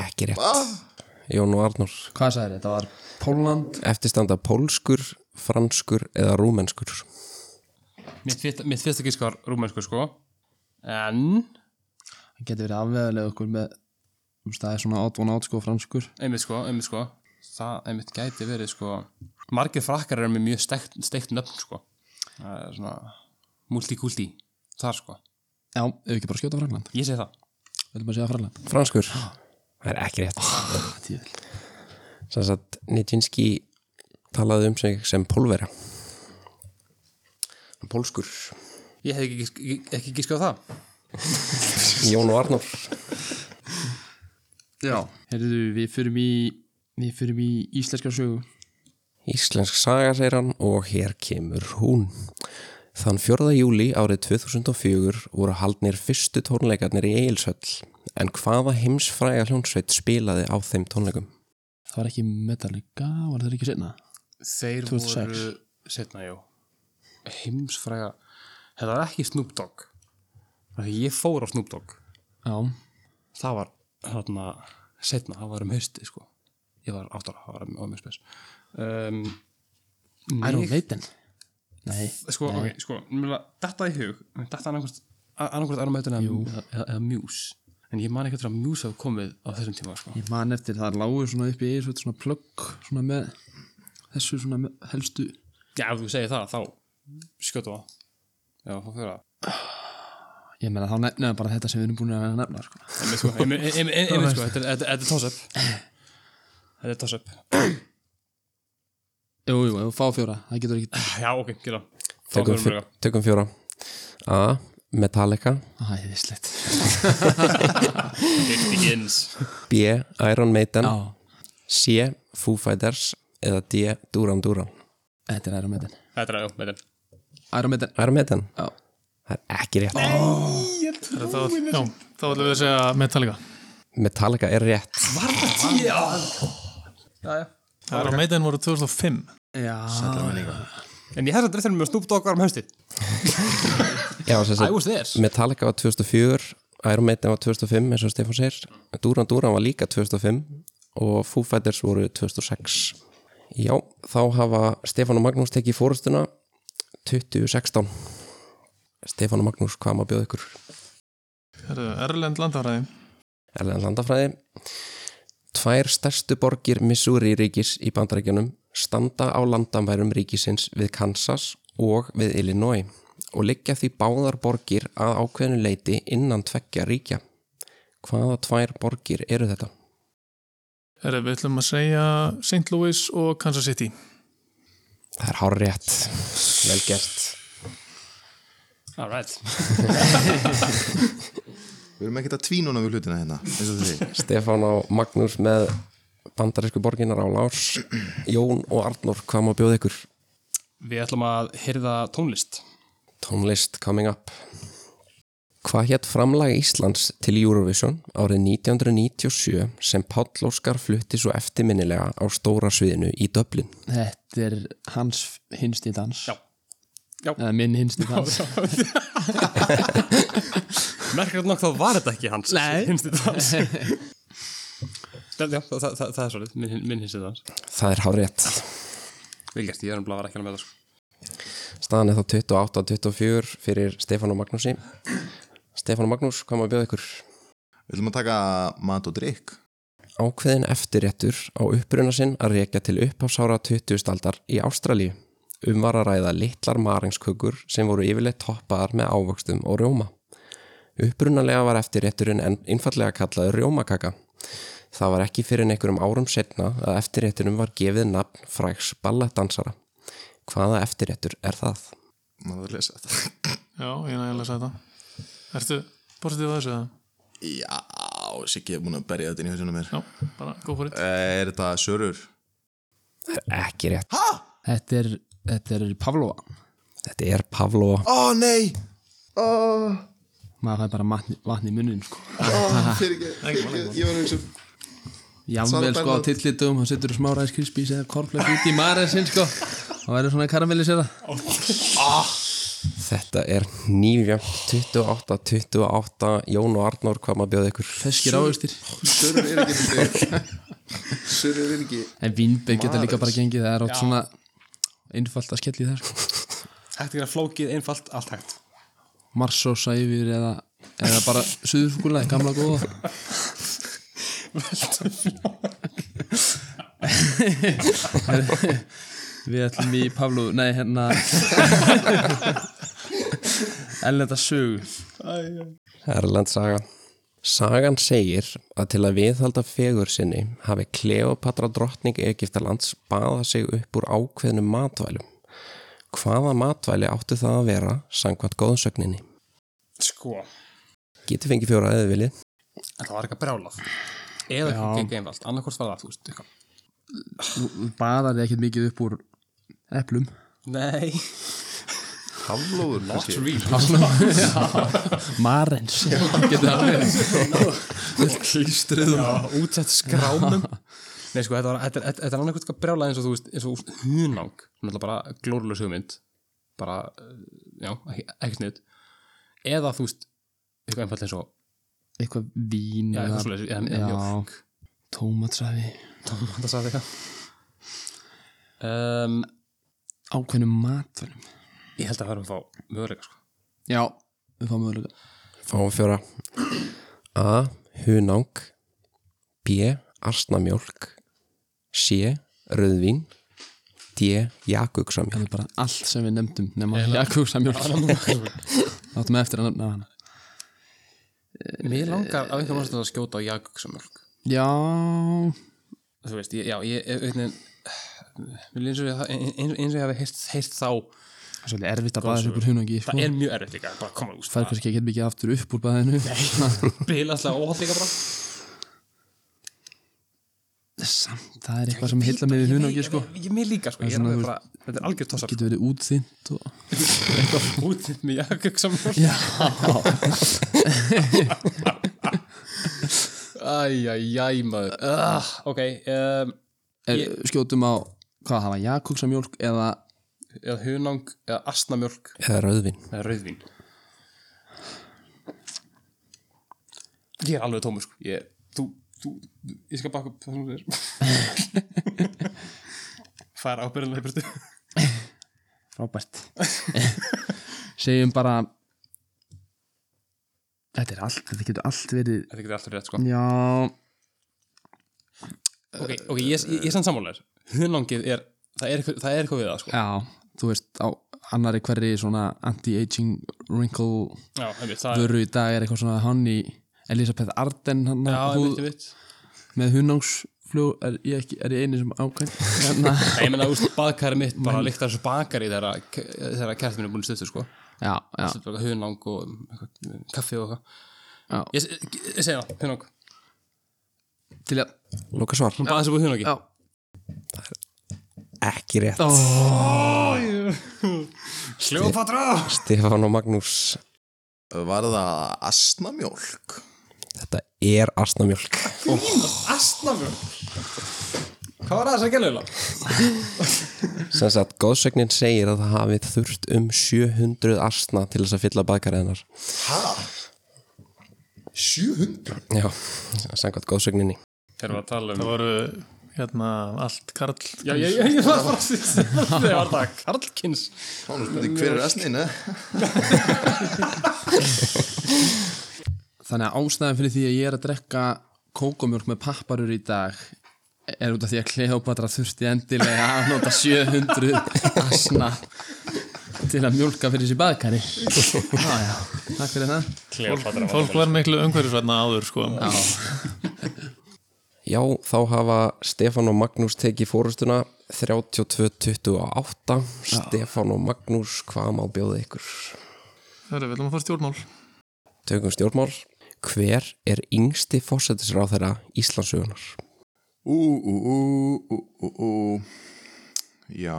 [SPEAKER 1] Ekki rétt Jón og Arnór
[SPEAKER 2] Hvað sagði þetta? var Pólland
[SPEAKER 1] Eftirstanda pólskur, franskur eða rúmenskur
[SPEAKER 3] Mitt fyrsta- mitt fyrsta gísk var rúmensku, sko En
[SPEAKER 2] Það getur verið afvegulega okkur með um staði svona át og nátt sko franskur
[SPEAKER 3] einmitt sko, einmitt sko það einmitt gæti verið sko margir frakkar eru með mjög steikt, steikt nöfn sko það er svona multikulti þar sko,
[SPEAKER 2] Já, ef við ekki bara skjóta Frakland
[SPEAKER 3] ég segi það
[SPEAKER 2] Við viljum bara segja Frakland
[SPEAKER 1] Franskur Það er ekki rétt
[SPEAKER 2] Tíðil
[SPEAKER 1] Sanns að Nijinski talaði um sig sem pólvera Pólskur
[SPEAKER 3] ég hef ekki, gisk- ekki, ekki gískað á það
[SPEAKER 1] Jón og Arnór
[SPEAKER 2] Já Herðu, við fyrum í Við fyrum í íslenska sögu
[SPEAKER 1] Íslensk saga segir hann og hér kemur hún. Þann 4. júli árið 2004 voru haldnir fyrstu tónleikarnir í Egilshöll en hvaða heimsfræga hljónsveit spilaði á þeim tónleikum?
[SPEAKER 2] Það var ekki Metallica, var það ekki setna?
[SPEAKER 3] þeir
[SPEAKER 2] 2006.
[SPEAKER 3] voru setna, já heimsfræga þetta var ekki Snoop Dogg Af því ég fór á Snoop Dogg
[SPEAKER 2] Já
[SPEAKER 3] það var hérna setna, það var um hausti sko ég var áttara, það var um spes um,
[SPEAKER 2] Iron
[SPEAKER 3] mig-
[SPEAKER 2] Maiden Nei
[SPEAKER 3] sko, ok, sko, mjögulega, datta í hug datta annarkvort, annarkvort Iron Maiden eða, eða, eða, eða Muse en ég man ekki eftir að Muse hafi komið á þessum tíma sko.
[SPEAKER 2] Ég man eftir það lágu svona upp í eisveit svona plögg svona með þessu svona með, helstu
[SPEAKER 3] já, ef þú segir það, þá skjótu það já, þá fyrir það
[SPEAKER 2] Ég meina þá nefnaði bara þetta sem við erum búin að nefna sko.
[SPEAKER 3] einmitt sko, einmitt- einmitt- einmitt sko, þetta er- þetta þetta er toss-up þetta er toss-up
[SPEAKER 2] Jú, jú, ef þú fá fjóra, það getur ekki
[SPEAKER 3] já, ok, gera
[SPEAKER 1] Tökum, fjó- tökum fjóra. A. Metallica
[SPEAKER 2] Æðislegt
[SPEAKER 3] It begins
[SPEAKER 1] B. Iron Maiden
[SPEAKER 2] Já,
[SPEAKER 1] C. Foo Fighters eða D. Duran Duran
[SPEAKER 2] þetta er Iron Maiden
[SPEAKER 3] þetta er, já, með þeim
[SPEAKER 2] Iron Maiden
[SPEAKER 1] Iron Maiden?
[SPEAKER 2] Já.
[SPEAKER 1] Það er ekki rétt.
[SPEAKER 4] Það er þá, já, þá ætlum við að segja Metallica
[SPEAKER 1] Metallica er rétt.
[SPEAKER 4] Það var á meitaðin voru 2005
[SPEAKER 2] Já,
[SPEAKER 3] en ég hefði þetta eftir með Snoop Dogg var um haustið
[SPEAKER 1] Já, sem sagt,
[SPEAKER 3] I was there.
[SPEAKER 1] Metallica var 2004 Iron Maiden var 2005 eins og Stefán segir Duran Duran var líka 2005 og Foo Fighters voru 2006 Já, þá hafa Stefán og Magnús tekið fórustuna 2016 Stefán og Magnús, hvað má bjóða ykkur?
[SPEAKER 4] Herðu, Erlend landafræði
[SPEAKER 1] Erlendan landafræði Tvær stærstu borgir Missouri ríkis í bandarækjunum standa á landamærum ríkisins við Kansas og við Illinois og liggja því báðar borgir að ákveðinu leiti innan tveggja ríkja. Hvaða tvær borgir eru þetta?
[SPEAKER 4] Herðu, við ætlum að segja St. Louis og Kansas City
[SPEAKER 1] Það er hár rétt. Vel gert.
[SPEAKER 2] All right
[SPEAKER 5] Við erum ekkert að tvínuna við hlutina hérna eins og því
[SPEAKER 1] Stefán og Magnús með bandarísku borginar á Lárs Jón og Arnór, hvað má bjóða ykkur?
[SPEAKER 2] Við ætlum að hyrða tónlist
[SPEAKER 1] Tónlist coming up Hvað hétt framlag Íslands til Eurovision árið 1997 sem Páll Óskar flutti svo eftirminnilega á stóra sviðinu í Dublin?
[SPEAKER 2] Þetta er hans hinsti dans
[SPEAKER 3] Já. Já.
[SPEAKER 2] Eða minn hinsti dans
[SPEAKER 3] Merkilegt nokk þá var þetta ekki hans Nei Hinsti
[SPEAKER 2] <laughs>
[SPEAKER 3] dans Já, já, það, það, það, það er svolítið, minn, minn hinsti dans
[SPEAKER 1] Það er hárétt.
[SPEAKER 3] Vel gert, ég er umlað var ekki alveg með það sko.
[SPEAKER 1] Staðan er þá 28-24 fyrir Stefán og Magnúsi. Stefán og Magnús, hvað má bjóða ykkur?
[SPEAKER 5] Við ætlum að taka mat og drikk
[SPEAKER 1] ákveðin eftirréttur á uppruna sinn að rekja til upphására 20. aldar í Ástralíu. Um var að ræða litlar maringskökur sem voru yfirleitt toppaðar með ávöxtum og rjóma. Upprunalega var eftirrétturinn en einfallega kallaður rjómakaka. Það var ekki fyrir einhverjum árum setna að eftirrétturum var gefið nafn fræks ballettdansara. Hvaða eftirréttur er það?
[SPEAKER 5] Má það lesa þetta?
[SPEAKER 4] Já, ég er nægilega að segja þetta Ertu positíf að þessu það?
[SPEAKER 5] Já, Siggi er búin að berja þetta inn í hausinu mér Eh,
[SPEAKER 4] Já, bara go for it
[SPEAKER 5] Er þetta sörur?
[SPEAKER 1] Það er ekki rétt.
[SPEAKER 2] Þetta er, þetta er Pavlova
[SPEAKER 1] Þetta er Pavlova.
[SPEAKER 5] Ó nei! Ó,
[SPEAKER 2] Maður fær bara vatni, vatni í munnin sko.
[SPEAKER 5] fyrir ekki, fyrir ekki, ég var að hugsa um-
[SPEAKER 2] Jafnvel sko á
[SPEAKER 5] Bernharð.
[SPEAKER 2] tillitum Hann setur smá ræðskrispís eða korflag út í maresinn sko. Það verður svona karamellisera
[SPEAKER 1] Þetta er nýja 28-28 Jón og Arnór hvað maður bjóði ykkur
[SPEAKER 2] Feskir ávegstir
[SPEAKER 5] Sörur er ekki þetta Sörur er ekki
[SPEAKER 2] En vínbeig geta líka bara gengið Það er átt svona einfalt að skelli þær sko.
[SPEAKER 3] Hægt að gera flókið, einfalt, allt hægt
[SPEAKER 2] Marsósa yfir eða, eða bara Suðurfúkulega, gamla góða Við ætlum í Pavlu Nei, hérna Ellenda sög
[SPEAKER 1] Erlend saga Sagan segir að til að viðhalda fegur sinni hafi Kleopatra drottning Egiptalands baða sig upp úr ákveðnum matvælum. Hvaða matvæli áttu það að vera sangvært góðsögninni?
[SPEAKER 3] Sko
[SPEAKER 1] Getið fengið fjóra eða viljið.
[SPEAKER 3] Þetta var eitthvað brjálað
[SPEAKER 2] Já.
[SPEAKER 3] Eða ekki ekki einfalt, annarkvort var það, þú veist, eitthvað
[SPEAKER 2] Baðar þið ekkert mikið upp úr eplum
[SPEAKER 3] Nei
[SPEAKER 5] Haflóður kannski
[SPEAKER 2] Marens Getur það verið
[SPEAKER 3] Klístruðum Já, útsett skrámum <laughs> Nei, sko, þetta, var, þetta, þetta, þetta er annað eitthvað brjálað eins og þú veist, eins og hunang Náttúrulega bara glórulega hugmynd Bara, eh, já, ekki, ekki snitt Eða þú veist, eitthvað einfalt eins og
[SPEAKER 2] Eitthvað vín
[SPEAKER 3] Já, eitthvað svoleiðis, eða- eða mjólk.
[SPEAKER 2] Tómatsafi
[SPEAKER 3] Það sagði eitthvað um,
[SPEAKER 2] Ákveðnum matvælum
[SPEAKER 3] Ég held að það erum þá möguleika, sko
[SPEAKER 2] Já, við fáum mögulega
[SPEAKER 1] Fáum fjóra. A. Hunang B. Arsnamjólk C. Röðvín D. Jakuksamjólk
[SPEAKER 2] Það er bara allt sem við nefndum nema Jakobsa mjölk Þá áttum við eftir að nefna hana
[SPEAKER 3] Mér langar af einhverjum ástæðu að skjóta á jaksamjölk
[SPEAKER 2] Já,
[SPEAKER 3] Þú veist, ég, já, ég, ég veitin Mér eins og ég, eins, eins og ég hafi heyrt, heyrt þá
[SPEAKER 2] það er svolítið erfitt að baða sér upp úr hunangi sko.
[SPEAKER 3] Það er mjög erfitt líka, bara koma úr
[SPEAKER 2] Það er kannski ekki mikið aftur upp úr baðinu Svona,
[SPEAKER 3] Bila alltaf óhald líka bara
[SPEAKER 2] Samt, það er eitthvað sem heilla með við hunangi sko.
[SPEAKER 3] Ég- Ég, mér líka sko, ég er
[SPEAKER 2] svona, þú
[SPEAKER 3] alveg bara Þetta er algjör tossar
[SPEAKER 2] Getur verið útþynt og...
[SPEAKER 3] Eitthvað <laughs> út með jaksamjólk
[SPEAKER 2] Já,
[SPEAKER 3] Æjæjæj maður uh, Ok, um,
[SPEAKER 2] er, skjótum á Hvað það var, Jakobsa mjölk eða
[SPEAKER 3] eða hunang eða asnamjólk
[SPEAKER 1] eða röðvín.
[SPEAKER 3] eða rauðvín Ég er alveg tómur sko ég, Þú, þú, ég skal baka upp það sem þú segir <laughs>
[SPEAKER 4] fara ábyrðanlega í burtu
[SPEAKER 2] frábært <laughs> segjum bara þetta er allt, þetta getur allt verið
[SPEAKER 3] Þetta getur alltaf rétt sko
[SPEAKER 2] já,
[SPEAKER 3] Ok, ok, ég, ég, ég sann sammálaður Hunangið er, það er, eitthvað- það er eitthvað við það sko
[SPEAKER 2] já þú veist, á annari hverri svona anti-aging wrinkle
[SPEAKER 3] Já, einmitt, það er
[SPEAKER 2] vöru í dag er eitthvað svona hann í Elisabeth Arden hann
[SPEAKER 3] Já, einmitt,
[SPEAKER 2] húð,
[SPEAKER 3] einmitt
[SPEAKER 2] með hunnángsflug er ég, ekki, er ég eini sem
[SPEAKER 3] <laughs>
[SPEAKER 2] ákveð hérna,
[SPEAKER 3] Nei, Ég meina, úst, baðkari mitt bara líktar svo bakari þegar þegar kertin er búin stuttur sko
[SPEAKER 2] já, já,
[SPEAKER 3] Svo bara hunang og um, eitthvað, kaffi og eitthvað
[SPEAKER 2] já
[SPEAKER 3] Ég, ég, ég segja það, hunang
[SPEAKER 2] til að,
[SPEAKER 1] Loka svar
[SPEAKER 3] Hún baði sér búið hunangi
[SPEAKER 2] já,
[SPEAKER 1] Ekki rétt
[SPEAKER 3] Hljófatra
[SPEAKER 1] Stefán og Magnús
[SPEAKER 5] Var það asnamjólk?
[SPEAKER 1] Þetta er asnamjölk
[SPEAKER 3] Astnafjör Hvað var það að segja lögulega?
[SPEAKER 1] sem sagt, góðsögnin segir að það hafi þurft um 700 asna til þess að fylla bakariðinar
[SPEAKER 5] 700?
[SPEAKER 1] Já, samkvæmt góðsögninni
[SPEAKER 3] Þegar við að tala um
[SPEAKER 4] það voru hérna allt karl
[SPEAKER 3] Já, ég, ég, ég var bara að <laughs> um- segja það var það Karlkins
[SPEAKER 5] Þá erum við spurning hver er asnin, eh?
[SPEAKER 2] þannig að ástæðan fyrir því að ég er að drekka kókomjólk með papparur í dag er út af því að Kleopatra þurfti endilega að nota 700 asna til að mjólka fyrir sér
[SPEAKER 3] <laughs>
[SPEAKER 2] baðkari já, já, takk fyrir það
[SPEAKER 4] fólk var miklu umhverfisvætna áður sko
[SPEAKER 1] Já, þá hafa Stefán og Magnús tekið fórustuna 32-28 Stefán og Magnús, hvað má bjóða ykkur?
[SPEAKER 4] það er vel að fara stjórnmál
[SPEAKER 1] Tökum stjórnmál Hver er yngsti fósættisráð þeirra Íslandsugunar?
[SPEAKER 5] Ú, ú, ú, ú, ú, ú Já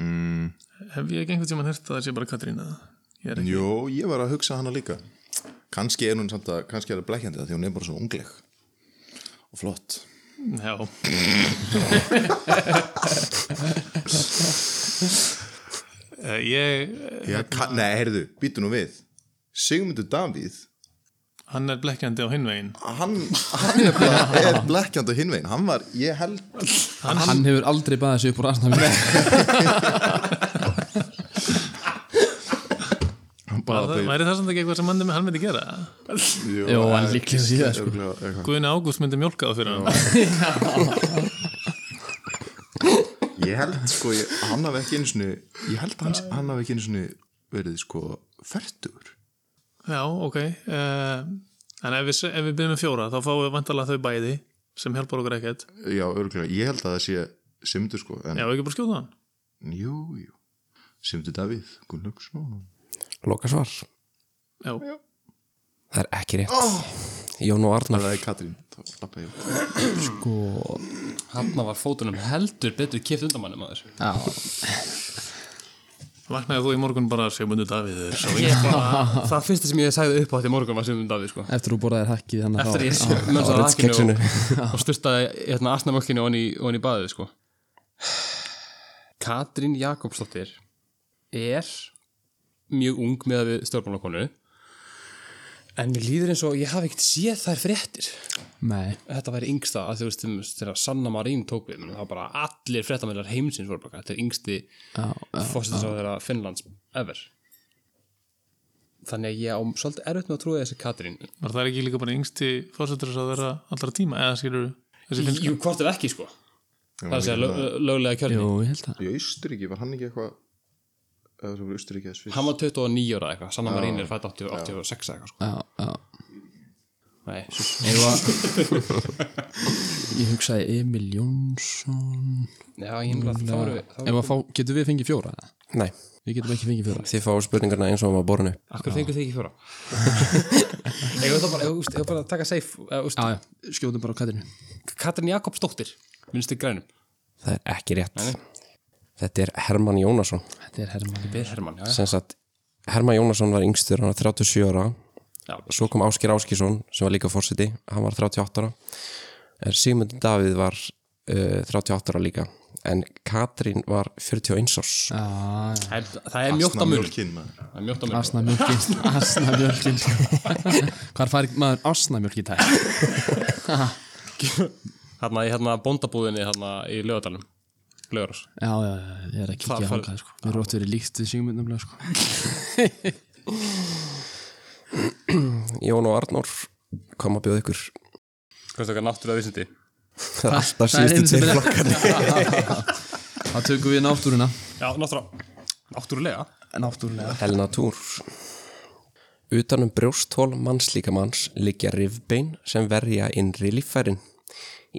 [SPEAKER 5] mm.
[SPEAKER 4] hef ég ekki einhvern tíma hirt að það sé bara Katrína ég er ekki
[SPEAKER 5] Jó, ég var að hugsa hana líka Kanski er hún samt að, kannski er það blekkjandi það því hún er bara svo ungleg og flott
[SPEAKER 4] <laughs> Já, Eh, ég,
[SPEAKER 5] Já, ka- Nei, heyrðu, býtu nú við Sigmundur Davíð
[SPEAKER 4] hann er blekkjandi á hinvegin
[SPEAKER 5] hann, hann er, bara, er blekkjandi á hinvegin hann var, ég held
[SPEAKER 2] hann, hefur aldrei baðið sér upp úr asna mjólk
[SPEAKER 5] hann
[SPEAKER 4] Það
[SPEAKER 5] bara
[SPEAKER 4] væri það samt ekki eitthvað sem hann, hann myndi gera
[SPEAKER 5] e-
[SPEAKER 2] Jó, hann líklega síðan, sko.
[SPEAKER 5] sko.
[SPEAKER 4] Guðni Ágúst myndi mjólka það fyrir hann
[SPEAKER 5] ég held sko ég, hann hafi ekki einu sinni ég held hans, hann hafi ekki einu sinni verið sko færtur
[SPEAKER 4] Já, ok uh, En ef við, se- ef við byrjum með fjóra þá fáum við vantarlega þau bæði sem hjálpar okkur ekkert
[SPEAKER 5] já, örgulega, ég held að það sé Sigmundur sko, en
[SPEAKER 4] Já, ekki bara skjóta hann
[SPEAKER 5] jú, jú Sigmundur Davíð, Gunnlaugsson
[SPEAKER 1] Loka svar
[SPEAKER 4] Já,
[SPEAKER 1] Það er ekki rétt Jón og Arnar
[SPEAKER 5] það er Katrín, þá lappa ég út.
[SPEAKER 3] Hanna var fótunum heldur betur kipt undan mannum að þessu
[SPEAKER 2] já,
[SPEAKER 4] vaknaði þú í morgun bara Sigmundur Davíð er sá yngst.
[SPEAKER 3] Það fyrsta sem ég sagði upp á þetta í morgun var sem um Davíð sko
[SPEAKER 2] eftir þú borðaðir hakkið þannig að þá-
[SPEAKER 3] Eftir að ég
[SPEAKER 2] já.
[SPEAKER 3] mönsaði
[SPEAKER 1] Á
[SPEAKER 3] rakkinu
[SPEAKER 1] Ritz-keksinu.
[SPEAKER 3] <laughs> og, og styrtaði hérna asnamölkinu og hann í baðið sko Katrín Jakobsdóttir er mjög ung með að við stjórnmálakonu en mér líður eins og ég hafi ekkert séð þær fréttir
[SPEAKER 2] Nei,
[SPEAKER 3] þetta væri yngsta að þú veist um, þegar Sanna Marín tók við menn, það var bara allir fréttamælar heimsins voru bara þetta er yngsti
[SPEAKER 2] já, já,
[SPEAKER 3] fórsetis á þeirra Finnlands ever þannig að ég á svolítið erfitt með að trúa þessi Katrín
[SPEAKER 4] Var það ekki líka bara yngsti fórsetur að þeirra allra tíma eða skilur þessi finnska
[SPEAKER 3] Jú, hvort ef ekki sko það er að segja lög, löglega kjörni
[SPEAKER 2] jú, ég held að
[SPEAKER 5] í Austuríki, var hann ekki eitthvað eða það voru Austuríki eða Sviss
[SPEAKER 3] hann var 29 ára eitthvað, Sanna Marín er fætt 80 86 eitthvað sko
[SPEAKER 2] Já, já
[SPEAKER 3] Nei,
[SPEAKER 2] Eða Ég hugsaði Emil Jónsson
[SPEAKER 3] já, ég hef bara, þá erum við þá erum
[SPEAKER 2] Ef að fá, getum við fengið fjóra?
[SPEAKER 1] Nei,
[SPEAKER 2] Við getum ekki fengið fjóra
[SPEAKER 1] þið fáu spurningarna eins og maður borinu
[SPEAKER 3] við akkur fengur þið
[SPEAKER 2] <laughs>
[SPEAKER 3] ekki fjóra ég hef bara, ég hef bara að taka safe eh, úst,
[SPEAKER 2] Já, já, skjóðum bara á kattinu
[SPEAKER 3] Katrín Jakobsdóttir minnstu grænum,
[SPEAKER 1] Það er ekki rétt Þetta er Hermann Jónasson
[SPEAKER 2] Þetta er Hermann
[SPEAKER 3] við Hermann já, já.
[SPEAKER 1] sem sagt, Hermann Jónasson var yngstur hann var 37 ára
[SPEAKER 3] Já.
[SPEAKER 1] svo kom Ásker Áskísson sem var líka fórseti hann var 38 ára en Sigmundur Davíð var uh, 38 ára líka en Katrín var 41 árs
[SPEAKER 2] Já,
[SPEAKER 3] Það er- það er mjótt á munum
[SPEAKER 5] maður
[SPEAKER 3] það er mjótt á munum
[SPEAKER 2] asna mjölkin Asna mjölkin sko. Hvar farið maður asna mjölk í dag?
[SPEAKER 3] Hanna í hérna bóndabúðinni hérna í lögadalum Lögur
[SPEAKER 2] Já, já, já, ég er að
[SPEAKER 3] Það
[SPEAKER 2] kíkja
[SPEAKER 3] fari-
[SPEAKER 2] hangað sko. Mér er ótt verið líkt við Sigmund nefnilega sko.
[SPEAKER 1] Jón og Arnór kom að bjóða ykkur
[SPEAKER 3] Hvað er þetta náttúrulega vísindi?
[SPEAKER 1] það er <laughs> alltaf
[SPEAKER 2] það er
[SPEAKER 1] síðustu
[SPEAKER 2] einu sem
[SPEAKER 1] tveir
[SPEAKER 2] er-
[SPEAKER 1] flokkar
[SPEAKER 2] <laughs> Það tökum við náttúruna
[SPEAKER 3] Já, náttúrulega Náttúrulega
[SPEAKER 2] Náttúrulega
[SPEAKER 1] Helnatúr Utanum brjósthól mannslíkamanns um liggja rifbein sem verja innri líffærin.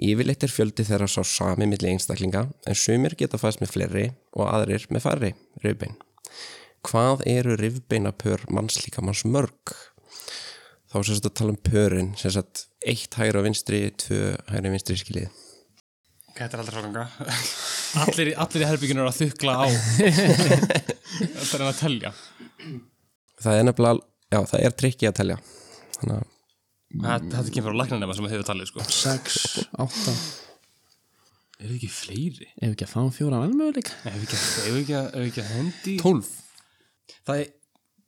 [SPEAKER 1] Yfirleitt er fjöldi þeirra sá sami milli einstaklinga en sumir geta fæst með fleiri og aðrir með færri rifbein. Hvað eru rifbeinapör mannslíkamanns mörg? Þá er sem sagt að tala um pörin, sem sagt eitt hægri og vinstri, tvö hægri og vinstri skiljið.
[SPEAKER 3] Ok, þetta er aldrei fráganga <laughs> allir, allir í herbygginu eru að þykla <laughs> á Þetta er hann að telja
[SPEAKER 1] Það er nefnilega, já það er trikki að telja. Þannig að
[SPEAKER 3] Þetta, þetta kemur frá læknarnema sem hefur talið sko
[SPEAKER 2] 6, 8
[SPEAKER 3] Eru ekki fleiri?
[SPEAKER 2] Ef ekki að fá fjóra velmöðuleik
[SPEAKER 3] Ef ekki, ef ekki, ef ekki að hendi
[SPEAKER 2] 12
[SPEAKER 3] Það er,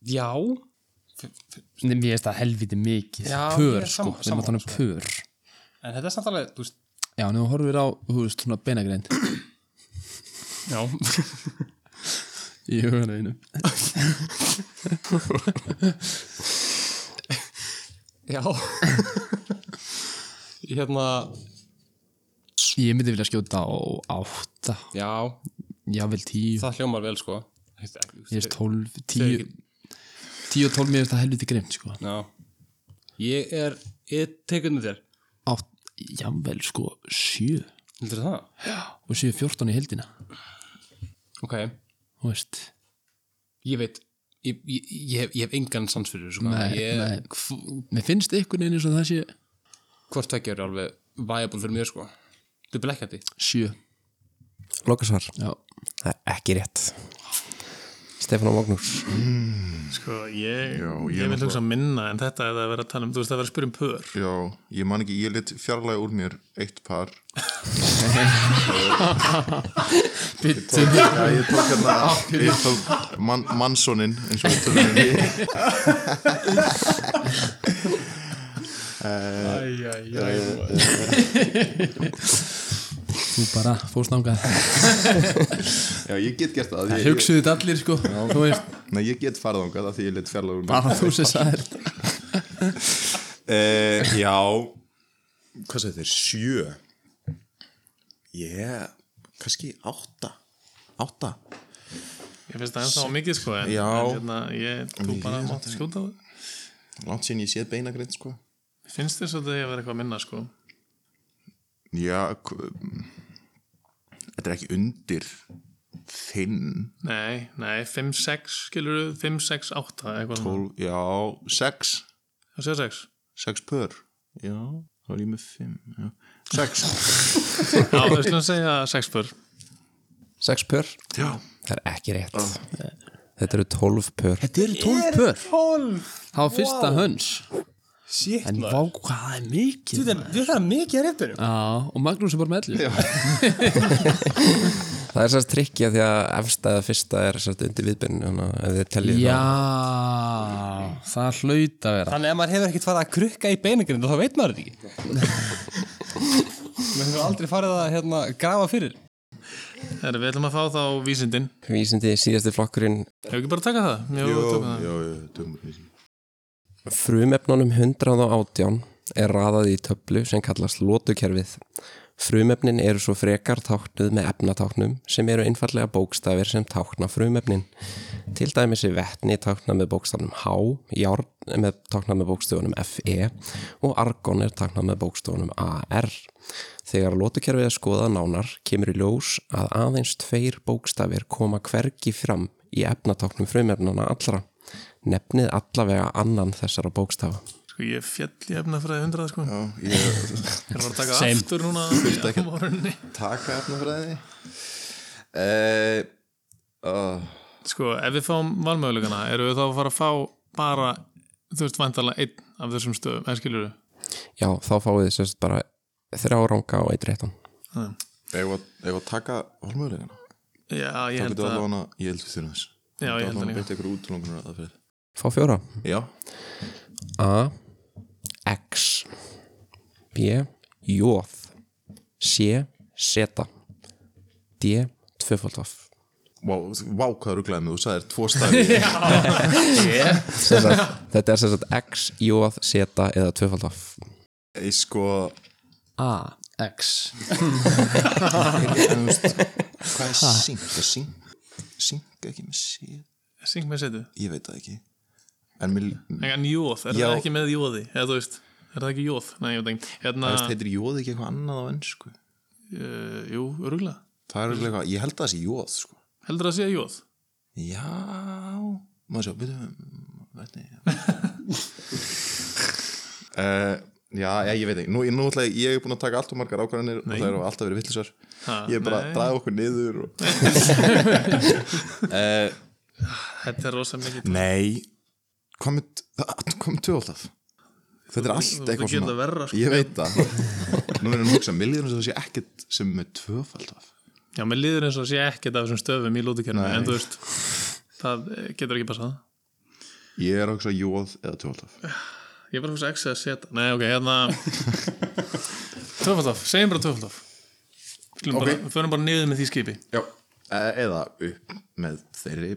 [SPEAKER 3] já
[SPEAKER 2] Nei, mér finnst það helviti mikið
[SPEAKER 3] Já, ég
[SPEAKER 2] Pör
[SPEAKER 3] er
[SPEAKER 2] sko,
[SPEAKER 3] sammála-
[SPEAKER 2] við erum að tala um pör
[SPEAKER 3] En þetta er samt alveg, þú veist
[SPEAKER 2] Já, en þú horfir á, þú veist, svona beinagreind
[SPEAKER 3] Já,
[SPEAKER 2] Í hugarleginu
[SPEAKER 3] <laughs> já <laughs> Hérna
[SPEAKER 2] Ég myndi vilja skjóta á 8
[SPEAKER 3] Já,
[SPEAKER 2] Já, vel 10
[SPEAKER 3] það hljómar vel sko
[SPEAKER 2] Ég veist 12,
[SPEAKER 3] Þegar
[SPEAKER 2] 10 10 og 12 mér finnst það helviti greimt sko
[SPEAKER 3] Já Ég er, ég tekur undir þér
[SPEAKER 2] 8, jável sko 7
[SPEAKER 3] Heldur það?
[SPEAKER 2] og 7, 14 í heldina
[SPEAKER 3] Ok,
[SPEAKER 2] Þú veist
[SPEAKER 3] ég veit Ég, ég, ég, hef, ég hef engan sans fyrir þessu sko.
[SPEAKER 2] Nei,
[SPEAKER 3] ég,
[SPEAKER 2] nei.
[SPEAKER 3] hv-
[SPEAKER 2] Mér finnst einhvern veginn eins og það sé
[SPEAKER 3] Hvort tveggja er alveg viable fyrir mér sko Þú blekkandi
[SPEAKER 2] 7
[SPEAKER 1] lokasvar.
[SPEAKER 2] Já,
[SPEAKER 1] Það er ekki rétt Stefán og Magnús
[SPEAKER 4] Sko, ég, ég,
[SPEAKER 5] Já, ég
[SPEAKER 4] vil
[SPEAKER 5] náttúrulega-
[SPEAKER 4] hugsa minna en þetta er að vera að tala um, þú veist, það er að vera að spyrja um pör.
[SPEAKER 5] Já, ég man ekki, ég lit fjarlæg úr mér eitt par
[SPEAKER 2] Bittu
[SPEAKER 5] Já, ég tók hérna Ég tók man, mannsoninn eins og um. þetta er henni
[SPEAKER 2] Þú bara fórst
[SPEAKER 3] <laughs>
[SPEAKER 2] nángað
[SPEAKER 5] Já, ég get gert það því ég,
[SPEAKER 2] Hugsuðu þetta allir sko Þú veist,
[SPEAKER 5] Nei, ég get farið ánga það því ég lit fjarlæg úr mér
[SPEAKER 2] bara
[SPEAKER 3] <laughs>
[SPEAKER 2] þú sem sagði þetta
[SPEAKER 5] <laughs> uh, Já Hvað segir þeir? Sjö Ég Kannski átta Átta
[SPEAKER 4] Ég finnst það ennþá mikið, sko, en,
[SPEAKER 5] Já.
[SPEAKER 4] en hérna, ég, þú
[SPEAKER 5] Mikið
[SPEAKER 4] bara
[SPEAKER 5] er
[SPEAKER 4] mátt skjóta á það.
[SPEAKER 5] Langt síðan ég séð beinagrind sko
[SPEAKER 4] Mér Finnst þér svo að það er að vera eitthvað minna, sko?
[SPEAKER 5] Já hv- Þetta er ekki undir Fimm
[SPEAKER 4] Nei, nei, 5, 6, skilur 5, 6, 8, eitthvað svona.
[SPEAKER 5] Tólf Já, sex
[SPEAKER 4] Það segir 6.
[SPEAKER 5] Sex pör Já, þá er ég með fimm já. <laughs> Sex
[SPEAKER 4] Já, við slum segja 6 pör.
[SPEAKER 1] Sex pör, Ah,
[SPEAKER 5] Já
[SPEAKER 1] það er ekki rétt Þetta eru 12 pör
[SPEAKER 2] Þetta eru 12 pör 12 Það var fyrsta höns Shit, En vá hvað það er mikið Þetta er mikið að reyndunum Já, og Magnús er bara með allir
[SPEAKER 1] Það er sérst trikkja því að efstæða fyrsta er sérst undir viðbyrn þannig að ef þið teljið þá-
[SPEAKER 3] Ah.
[SPEAKER 2] Já, það hlaut að vera
[SPEAKER 3] Þannig að maður hefur ekkert farið að krukka í beinagrind og þá veit maður þetta <laughs> ekki Maður hefur aldrei farið að hérna, grafa fyrir
[SPEAKER 4] Þegar við ætlum að fá þá vísindin.
[SPEAKER 1] Vísindi síðasti flokkurinn
[SPEAKER 4] Hefur ekki bara takað það? Jú, við tökum það.
[SPEAKER 5] já, já
[SPEAKER 1] Frumefnunum 118 er raðað í töflu sem kallast lótukerfið Frumefnin eru svo frekar táknuð með efnatáknum sem eru einfallega bókstafir sem tákna frumefnin. Til dæmis er vetni táknað með bókstafnum H, járn með táknað með bókstafunum FE og argon er táknað með bókstafunum AR. Þegar lótukerfið er skoðað nánar kemur í ljós að aðeins tveir bókstafir koma hvergi fram í efnatáknum frumefnana allra. Nefnið allavega annan þessara bókstafa.
[SPEAKER 4] Sko, ég fjall í efnafræði 100, sko.
[SPEAKER 5] Já, ég
[SPEAKER 4] Ég er bara að taka
[SPEAKER 3] Same.
[SPEAKER 4] aftur núna
[SPEAKER 5] Þurfti
[SPEAKER 4] á morgunni.
[SPEAKER 5] Taka efnafræði uh, uh,
[SPEAKER 4] Sko, ef við fáum valmöguleikana, erum við þá að fara að fá bara, þú veist, vantarlega einn af þessum stöðum, eða skilur við?
[SPEAKER 1] Já, þá fáið þið sérst bara þrjá ranga og eitt réttan.
[SPEAKER 5] Ef að ef að taka valmöðulegana
[SPEAKER 4] Já, ég held
[SPEAKER 5] Þá getur
[SPEAKER 4] að,
[SPEAKER 5] allan að Ég held við þurfum þess
[SPEAKER 4] já, ég held að
[SPEAKER 5] að
[SPEAKER 4] líka.
[SPEAKER 5] Beitt ykkur útlungunar að það fyrir
[SPEAKER 1] Fá fjóra.
[SPEAKER 5] Já
[SPEAKER 1] A X B J C Z D, tvöfald vaff
[SPEAKER 5] Vá, vá hvað rugglaði mig, þú sagðir tvo
[SPEAKER 4] <laughs>
[SPEAKER 5] stafi
[SPEAKER 1] Sem sagt, Þetta er sem sagt X, J, Z eða tvöfald vaff
[SPEAKER 5] Ég sko,
[SPEAKER 2] A, X
[SPEAKER 5] þú veist, hvað er synk? Er synk? Synk ekki með sér?
[SPEAKER 4] syng með setu
[SPEAKER 5] Ég veit það ekki En mér,
[SPEAKER 4] en jóð, er
[SPEAKER 5] Já.
[SPEAKER 4] það ekki með jóði eða þú veist, er það ekki jóð nei, ég veit ekki, hérna,
[SPEAKER 5] það veist, heitir jóð ekki eitthvað annað á ennsku
[SPEAKER 4] uh, jú, öruglega
[SPEAKER 5] Það er örugglega eitthvað, ég held að það sé jóð, sko
[SPEAKER 4] heldur það að sé jóð
[SPEAKER 5] Já, maður sjá, byrju, <laughs> hvernig uh, Já, já, ég veit ekki Nú, ég, nú ætla, ég- ég er búin að taka allt og margar ákvarðanir og það eru alltaf verið vittlisar
[SPEAKER 4] Ha,
[SPEAKER 5] Ég er bara
[SPEAKER 4] nei.
[SPEAKER 5] að draga okkur niður og...
[SPEAKER 4] þetta er rosa mikið
[SPEAKER 5] Nei, hvað með, það- hvað með tvöfaldaf? Þetta er
[SPEAKER 4] þú-
[SPEAKER 5] allt
[SPEAKER 4] þú
[SPEAKER 5] eitthvað
[SPEAKER 4] gerir það verra, sko.
[SPEAKER 5] Ég veit það Nú erum við að hugsa miljónum sem það sé ekkert sem er með tvöfaldaf
[SPEAKER 4] já, mér líður eins og sé ekkert af þessum stöfum í lútukerfinu, en þú veist það eh, getur ekki passað
[SPEAKER 5] Ég er að hugsa jóð eða tvöfaldaf
[SPEAKER 4] ég er bara fyrir X eða Z, nei, ok, hérna <laughs> tvöfaldaf, segjum bara tvöfaldaf við okay. bara, förum bara niður með því skipi
[SPEAKER 5] Já E, Eða upp með þeirri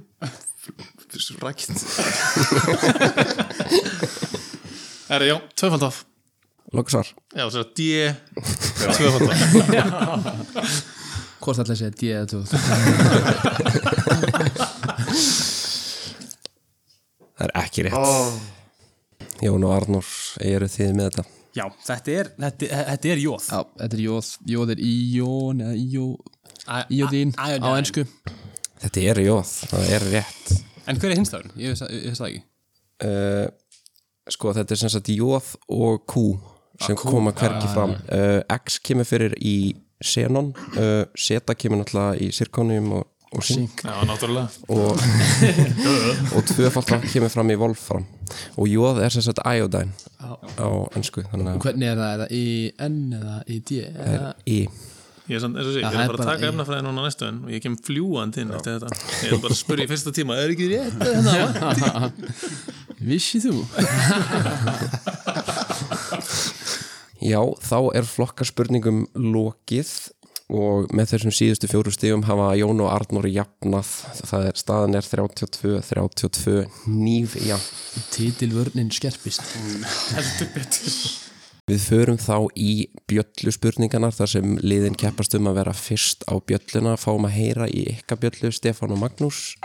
[SPEAKER 5] rækint
[SPEAKER 4] er, já, tvöfaldaf
[SPEAKER 1] Lóksvar
[SPEAKER 4] já, þess að D tvöfaldaf
[SPEAKER 2] Hvort ætla að segja D eða 2
[SPEAKER 1] Það er ekki rétt Jón og Arnór, eru þið með þetta?
[SPEAKER 3] Já, þetta er, þetta, þetta er jóð
[SPEAKER 2] Já, þetta er jóð, jóð er íjón eða íjó, íjóðín
[SPEAKER 3] a-
[SPEAKER 2] á ennsku
[SPEAKER 1] Þetta er jóð, það er rétt
[SPEAKER 3] En hver er hinstafurinn?
[SPEAKER 2] Ég veist það ég veist það ekki
[SPEAKER 1] Eh, sko þetta er sem sagt jóð og kú sem koma hvergi fram uh, X kemur fyrir í Xenon uh, Zeta kemur náttúrulega í Sirconium og, og Sync
[SPEAKER 4] <laughs> já, náttúrulega
[SPEAKER 1] og, og tvöfalt af kemur fram í Wolfram og jóð er sem sagt Iodine á ennsku þannig að
[SPEAKER 2] Hvernig er það, er það í N eða í D eða
[SPEAKER 1] í
[SPEAKER 4] Ég er, samt, eins og sé,
[SPEAKER 2] Já,
[SPEAKER 4] ég
[SPEAKER 2] það
[SPEAKER 4] er
[SPEAKER 2] er
[SPEAKER 4] bara að
[SPEAKER 2] bara
[SPEAKER 4] taka
[SPEAKER 2] í-
[SPEAKER 4] efnafræði núna næstu en og ég kem fljúandi inn eftir þetta Ég er bara að spyrja í fyrsta tíma, er ekki rétt? Þetta
[SPEAKER 2] Vissið þú?
[SPEAKER 1] Já, þá er flokkarspurningum lokið og með þessum síðustu fjóru stigum hafa Jón og Arnór jafnað það er, staðan er 32 32 nýfjafn
[SPEAKER 2] Titilvörnin skerpist
[SPEAKER 1] Við förum þá í bjöllu spurningarnar þar sem liðin keppast um að vera fyrst á bjölluna, fáum að heyra í ykkar bjöllu Stefán og Magnús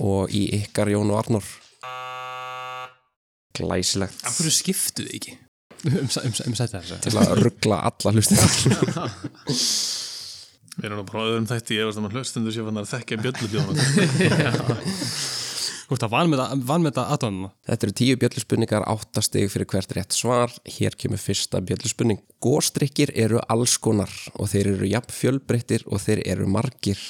[SPEAKER 1] og í ykkar Jón og Arnór. Glæsilegt
[SPEAKER 3] Af hverju skiptu þið ekki?
[SPEAKER 2] um, sæ- um, sæ- um sættar þess
[SPEAKER 1] til að ruggla alla hlustinnar.
[SPEAKER 4] Við erum nú bara á öðrum þætti, ég varst að maður hlustundur sé fannar að þekkja bjöllubjóðan
[SPEAKER 3] Þú ert að vanmeta, vanmeta aðdónuna
[SPEAKER 1] Þetta eru tíu bjöllu spurningar, áttastig fyrir hvert rétt svar. Hér kemur fyrsta bjöllu spurning. Góstrykkir eru alls konar og þeir eru jafn fjölbreyttir og þeir eru margir.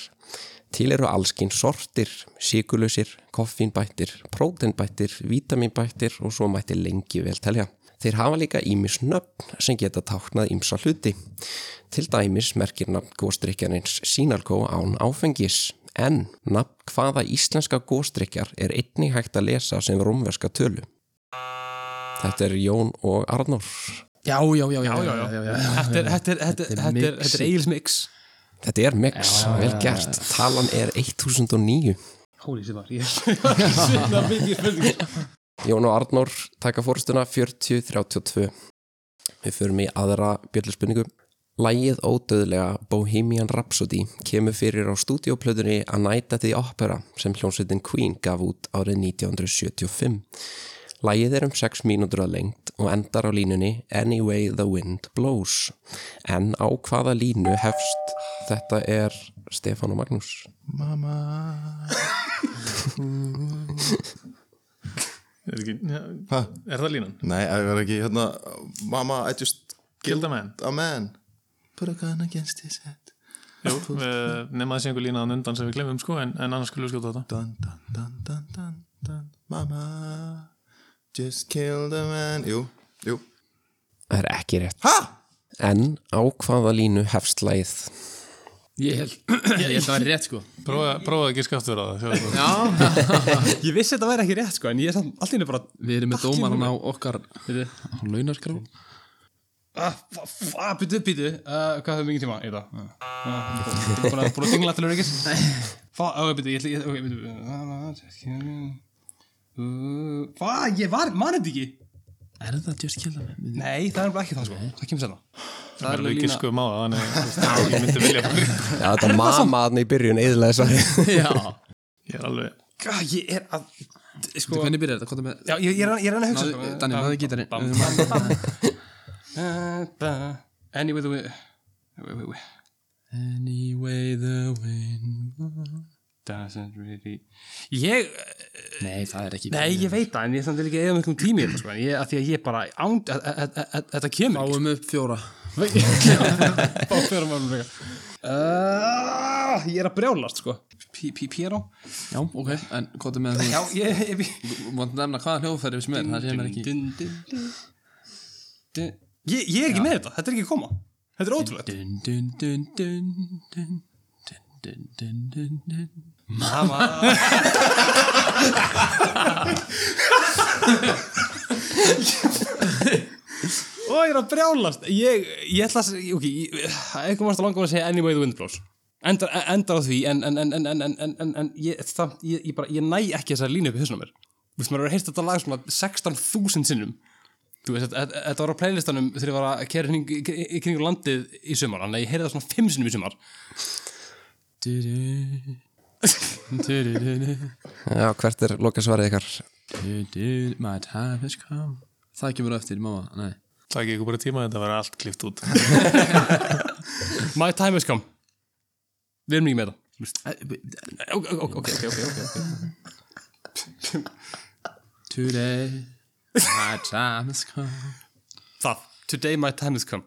[SPEAKER 1] Til eru allskinn sortir, síkulusir, koffínbættir, próteinbættir, vítaminbættir og svo mætti lengi vel telja. Þeir hafa líka ímis nöfn sem geta táknað ímsa hluti. Til dæmis merkir nafn góstrykkjarins sínalkó án áfengis. En nafn hvaða íslenska góstrykkjar er einnig hægt að lesa sem rómverska tölu. Þetta er Jón og Arnór.
[SPEAKER 2] Já, já, já, já, já, já, já.
[SPEAKER 3] Þetta er, þetta er, þetta er,
[SPEAKER 2] Þetta er
[SPEAKER 3] þetta er,
[SPEAKER 2] mixið.
[SPEAKER 3] þetta er Egil's mix
[SPEAKER 1] Þetta er mix, vel gert. Talan er 1009.
[SPEAKER 3] Hóli sem var ég Svinna mikið spurning
[SPEAKER 1] Jón og Arnór taka fórstuna 40-32 Við förum í aðra bjölluspurningu Lægið ódöðlega Bohemian Rhapsody kemur fyrir á stúdíóplötunni A Night at the Opera sem hljómsveitin Queen gaf út árið 1975. Lægið er um 6 mínútur að lengt og endar á línunni Any Way the Wind Blows. En á hvaða línu hefst þetta er Stefán og Magnús?
[SPEAKER 5] Mamma
[SPEAKER 4] Er ekki, ja,
[SPEAKER 5] Hæ?
[SPEAKER 4] er það línan?
[SPEAKER 5] Nei, það er ekki hérna Mamma, I just
[SPEAKER 4] Killed a man.
[SPEAKER 5] a man Put a gun against his head
[SPEAKER 4] Jú, eh, nema þessi einhver línan undan sem við glemum sko en, en annars skulle við skjóta þetta
[SPEAKER 5] Dun, dun, dun, dun, dun, dun Mamma Just killed a man Jú, jú
[SPEAKER 1] Það er ekki rétt.
[SPEAKER 5] Ha?
[SPEAKER 1] En á hvaða línu hefst lægið?
[SPEAKER 2] Ég held <clears throat> Ég held að það var rétt sko
[SPEAKER 4] Prófa, prófa ekki skaftur á það sjá það.
[SPEAKER 3] Ég vissi þetta væri ekki rétt sko En ég er samt alltaf bara
[SPEAKER 2] Við erum með dómaran á okkar Á launaskrá
[SPEAKER 3] ah, Býtu, býtu uh, Hvað höfum við mikið tíma í það? Uh, búin, að, búin að dingla til öryggis Fá, ok, býtu, ég ætla ég- Ok, Ah, býtu Fá, Uh, ah, ég var, manið ekki
[SPEAKER 2] Er það Just Kill Them?
[SPEAKER 3] Nei, það er bara ekki það sko Það kemur sérna Það er
[SPEAKER 4] verður
[SPEAKER 3] alveg
[SPEAKER 4] ekki
[SPEAKER 3] lína
[SPEAKER 4] sko máða þannig að, þú veist, ég myndi vilja
[SPEAKER 1] Já, þetta mama hann í byrjun eðlega svar
[SPEAKER 2] Já
[SPEAKER 4] <laughs> ég er alveg
[SPEAKER 3] Gah, Ég er að Sko
[SPEAKER 2] Hvernig byrjar þetta? Hvað er með
[SPEAKER 3] Já, ég, ég er að- ég er að reyna að hugsa um
[SPEAKER 2] Náðu- Danni, náðu gítarinn.
[SPEAKER 3] gítarinn Anyway, the way Wait, wait, wait
[SPEAKER 2] Anyway the wind
[SPEAKER 3] Doesn't really Ég
[SPEAKER 2] Nei, það er ekki
[SPEAKER 3] Nei, ég veit það, en ég er samt ekki eða miklum tími í þetta, sko, en ég, að því að ég bara ánd, að, að, að, að, þetta kemur ekki,
[SPEAKER 2] Fáum upp fjóra
[SPEAKER 3] sko. Fá fyrir málum líka. Uh, ég er að brjálast, sko. P- P- Piano?
[SPEAKER 2] Já, ok En hvað er með
[SPEAKER 3] Já,
[SPEAKER 2] þú?
[SPEAKER 3] ég, ég,
[SPEAKER 2] Mátt nefna hvaða hljóðferði við smir Það sé mér
[SPEAKER 3] ég,
[SPEAKER 2] ekki
[SPEAKER 3] dun, dun, dun, dun. ég, ég er ekki með þetta, þetta er ekki að koma. Þetta er ótrúlegt.
[SPEAKER 2] Dun dun dun dun dun Dun dun dun dun dun
[SPEAKER 3] Mamma. Ó, ég er að brjálast. Ég, ég ætla að, ok, ég- eitthvað mást að langa að segja Anyway the Wind Blows. Endar, endar á því, en, en, en, en, en, en, en, en, en ég, það, ég, ég bara, ég næ ekki þessari línu upp í hausnum mér. Þú veist, maður hefur heyrst þetta lag svona 16.000 sinnum. Þú veist, þetta- þetta þetta var á playlistanum þegar ég var að kæra hring, í kringu landið í sumar, en ég heyrði það svona 5 sinnum í sumar.
[SPEAKER 2] Du-du. Du-du-du-du.
[SPEAKER 1] <laughs> Já, hvert er loka svarið ykkar?
[SPEAKER 2] Du-du. My time has come Það kemur á eftir, mamma, nei
[SPEAKER 4] það ekki ykkur bara tíma þetta verður allt klift út
[SPEAKER 3] My time has come. Við erum ekki með þetta. Ok, ok, ok, ok, ok, ok.
[SPEAKER 2] Today My time has come
[SPEAKER 3] Það, today my time has come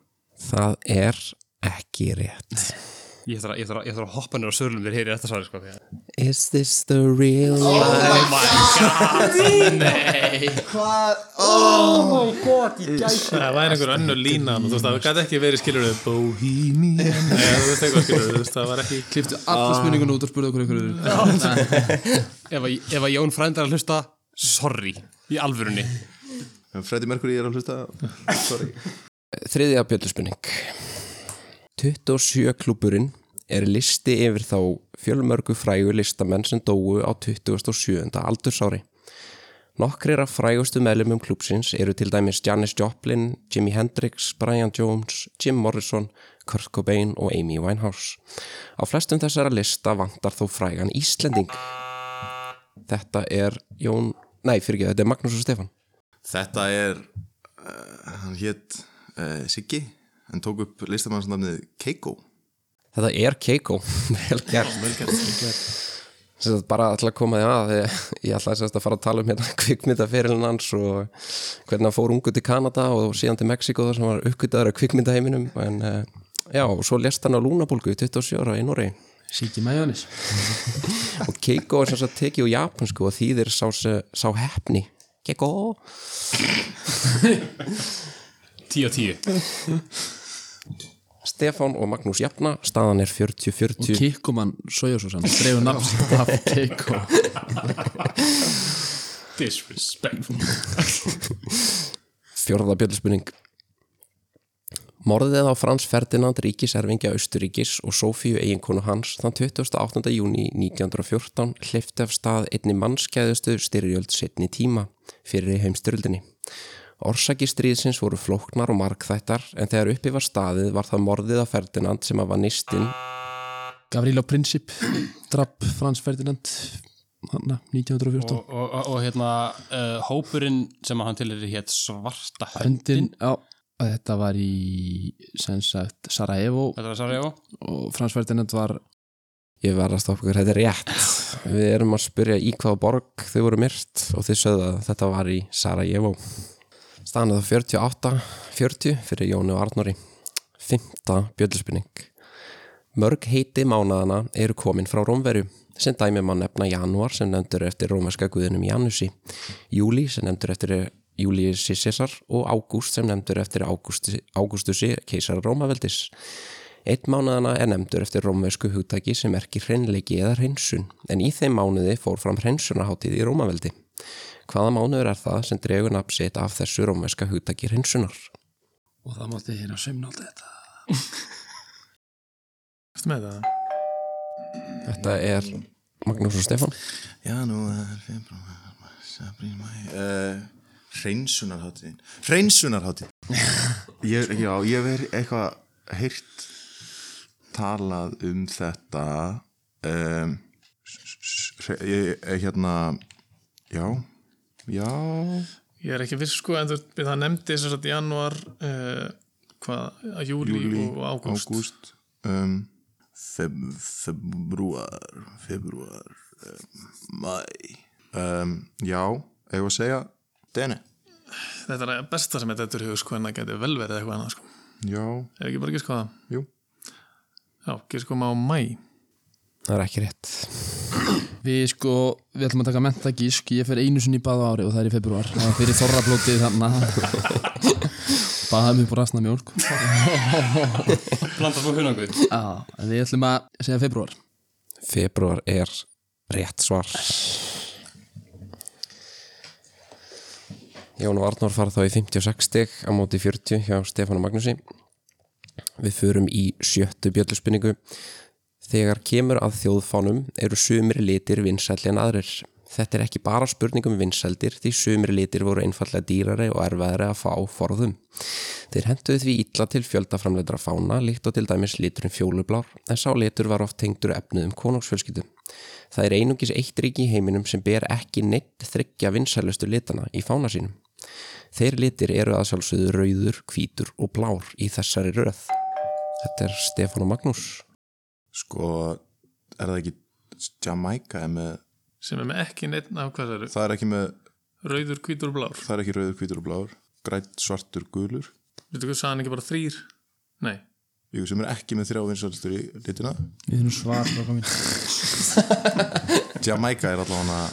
[SPEAKER 1] Það er ekki rétt
[SPEAKER 3] Ég þarf að, ég þarf að, ég þarf að hoppa nýra á sörlum þér hér í þetta svari sko því að-
[SPEAKER 1] Is this the real life?
[SPEAKER 4] það væri einhver önnur lína þú veist það gæti ekki verið skilur þau Bohemian <laughs> Nei, þú veist eitthvað skilur þú veist það var ekki
[SPEAKER 2] Kliftu alla spurningun út og spurðu okkur ykkur
[SPEAKER 3] <laughs> Ef að, ef að Jón frændi er að hlusta, sorry, í alvörunni
[SPEAKER 5] Freddy Mercury er
[SPEAKER 4] <laughs>
[SPEAKER 5] að hlusta Sorry
[SPEAKER 1] Þriðja bjöldurspunning 27 klúburinn er listi yfir þá fjölmörgu frægu listamenn sem dóu á 27. aldursári. Nokkrir af frægustu meðlumum klúpsins eru til dæmis Janis Joplin, Jimi Hendrix, Brian Jones, Jim Morrison, Kurt Cobain og Amy Winehouse. Á flestum þessara lista vantar þó frægan Íslending. Þetta er Jón... Nei, fyrir ekki, þetta er Magnús og Stefán.
[SPEAKER 5] Þetta er uh, Hann hétt uh, Siggi En tók upp listamannsnafnið Keiko
[SPEAKER 1] Þetta er Keiko, <laughs> vel gert Vel gert bara ætla að koma því að því ég ætla að fara að tala um hérna <laughs> kvikmyndaferilin hans og hvernig hann fór ungu til Kanada og síðan til Mexiko þar sem hann var uppgötaður af kvikmyndaheiminum en eh, já, og svo lest hann á Lúnabólgu í 27 ára í Noregi
[SPEAKER 2] Siki Majónis
[SPEAKER 1] og Keiko er sem sagt tekið úr japansku og þýðir sá, se- sá hefni Keiko
[SPEAKER 3] Tíu á tíu
[SPEAKER 1] Stefán og Magnús Jafna, staðan er 40-40
[SPEAKER 2] Kikkoman Sojásósan Dreifur nafnsitt af Kikko
[SPEAKER 3] Disrespectful
[SPEAKER 1] Fjórða bjöldspurning Morðið á Frans Ferdinand ríkiserfingja Austuríkis og Sofíu eiginkonu hans þann 28. júni 1914 hlifti af stað einni mannskæðustu styrjöld setni tíma fyrir heimstyrjöldinni. Orsaki stríðsins voru flóknar og markþættar en þegar uppi var staðið var það morðið á Ferdinand sem að var nistinn
[SPEAKER 2] Gavrilo Princip Drapp Frans Ferdinand Hanna, 1914
[SPEAKER 3] Og, og, og, og hérna, uh, hópurinn sem að hann til er hétt Svarta
[SPEAKER 2] Höndin,
[SPEAKER 3] Höndin
[SPEAKER 2] já Þetta var í, sem sagt, Sarajevo
[SPEAKER 3] Þetta var Sarajevo
[SPEAKER 2] og Frans Ferdinand var
[SPEAKER 1] Ég verða að stoppa ykkur, þetta er rétt Við erum að spyrja í hvaða borg þau voru myrt og þau sögðu að þetta var í Sarajevo Stanað á 48-40 fyrir Jónu og Arnóri Fymta bjöllspinning Mörg heiti mánaðana eru komin frá Rómveru sem dæmi má nefna janúar sem nefndur eftir rómverska guðinum Janusi júli sem nefndur eftir Júliusi César og ágúst sem nefndur eftir Ágústi- Ágústusi keisar Rómaveldis Eitt mánaðana er nefndur eftir rómversku hugtaki sem merkir hreinleiki eða hreinsun en í þeim mánuði fór fram hreinsunarháttíð í Rómaveldi Hvaða mánuður er það sem dregur nafn sitt af þessu rómverska hugtaki hreinsunar?
[SPEAKER 2] og það mátti hérna sömna alltaf þetta
[SPEAKER 4] Ertu með það?
[SPEAKER 1] Þetta er Magnús og Stefán
[SPEAKER 5] Janúar, februar, mars, apríl, mæ uh, Hreinsunarháttíðin Hreinsunarháttíðin <laughs> ég, Já, ég hef heyrt eitthvað heyrt talað um þetta um, s- s- hre- ég, eh, hérna já, já
[SPEAKER 4] Ég er ekki viss sko en þú, það nefndi þess að janúar uh, hvað, að júli,
[SPEAKER 5] júlí,
[SPEAKER 4] og ágúst
[SPEAKER 5] ágúst um, feb, februar februar um, mæ um, Já, eigum við að segja Dene,
[SPEAKER 4] Þetta er að besta sem þetta er hug sko en það geti vel verið eitthvað annað sko
[SPEAKER 5] já,
[SPEAKER 4] Er ekki bara gíska á það?
[SPEAKER 5] jú
[SPEAKER 4] Já, gíska á mæ
[SPEAKER 1] Það er ekki rétt
[SPEAKER 2] Við sko, við ætlum að taka mentagísk Ég fer einu sinni í bað á ári og það er í februar Það er fyrir þorrablótið <laughs> þannig Baða mig upp úr rastna mjólk
[SPEAKER 3] Blandar þú hunanguð
[SPEAKER 2] Já, en við ætlum að segja februar
[SPEAKER 1] Februar er rétt svar Jón og Arnór fara þá í 56 stig á móti 40 hjá Stefán og Magnúsi Við förum í sjöttu bjölluspinningu Þegar kemur að þjóðfánum eru sumir litir vinsælli en aðrir Þetta er ekki bara spurning um vinsældir því sumir litir voru einfallega dýrari og erfæðari að fá forðum Þeir henduðu því illa til fjöldaframleidra fána líkt og til dæmis liturinn fjólublár en sá litur var oft tengdur efnið um konungsfjölskyldum Það er einungis eitt ríki í heiminum sem ber ekki neitt þryggja vinsælustu litana í fána sínum Þeir litir eru að sjálfsögðu rauður, hvítur og blár í þessari röð Þetta er Stefán og Magnús
[SPEAKER 5] Sko, er það ekki Jamaica er með,
[SPEAKER 4] sem er með ekki neitt af hvað það eru
[SPEAKER 5] það er ekki með
[SPEAKER 4] Rauður, hvítur og blár
[SPEAKER 5] það er ekki rauður, hvítur og blár grætt, svartur, gulur
[SPEAKER 4] Veitu hvað, sagði hann ekki bara þrýr? Nei,
[SPEAKER 5] ykkur sem er ekki með þrjá vinsælstur í litina
[SPEAKER 2] Við erum svar
[SPEAKER 5] Jamaica er allavega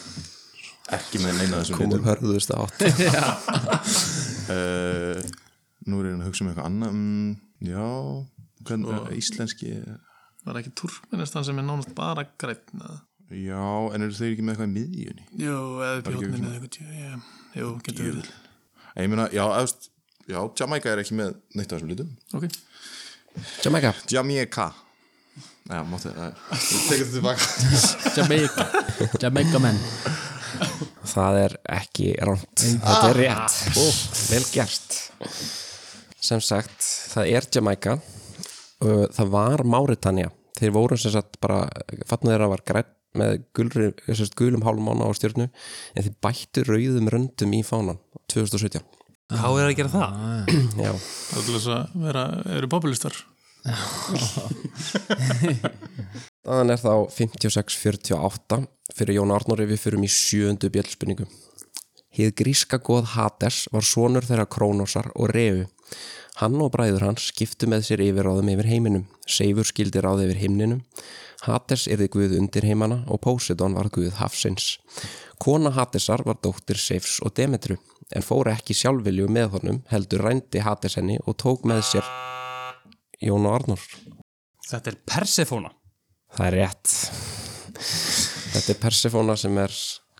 [SPEAKER 5] ekki með neina af þessum litum
[SPEAKER 1] hörðuðust átt
[SPEAKER 5] uh, Nú er ég að hugsa um eitthvað annað mm, Já, hvernig er íslenski
[SPEAKER 4] var ekki Turkmenistan sem er nánast bara græn eða?
[SPEAKER 5] Já, en eru þeir ekki með eitthvað í miðjunni?
[SPEAKER 4] Jú, eða
[SPEAKER 5] ekki
[SPEAKER 4] bjóðnin
[SPEAKER 5] svona-
[SPEAKER 4] eða eitthvað tjö, já, Jú, getur verið
[SPEAKER 5] En Eh, ég meina, já, efst, já, Jamaica er ekki með neitt af þessum litum
[SPEAKER 4] Ok,
[SPEAKER 1] Jamaica
[SPEAKER 5] Jamaica Já, máttu, það er Tekur þetta tilbaka
[SPEAKER 2] Jamaica Jamaica menn
[SPEAKER 1] Það er ekki rámt Þetta er rétt Vel gert Sem sagt, það er Jamaica Uh, Það var Máritania Þeir voru sem sagt bara Fatnaði þeirra var græn með gulri, sem sagt, gulum hálmána á stjörnu en þeir bættu rauðum röndum í fánan 2017
[SPEAKER 3] Hvað er að gera það?
[SPEAKER 1] Já,
[SPEAKER 4] það er til þess að vera, eru populistar
[SPEAKER 1] Þannig er þá 56-48 fyrir Jón Arnóri við fyrum í sjöundu bjöllspurningu. Hið gríska goð Hades var sonur þeirra Krónosar og Reu. Hann og bræður hans skiptu með sér yfirráðum yfir heiminum. Seifur skildi ráð yfir himninum. Hades erði guð undir heimana og Poseidon var guð hafsins. Kona Hadesar var dóttir Seifs og Demetru en fór ekki sjálfvilju með honum heldur rændi Hades henni og tók með sér Jón og Arnór.
[SPEAKER 3] Þetta er Persefóna
[SPEAKER 1] Það er rétt Þetta er Persefóna sem er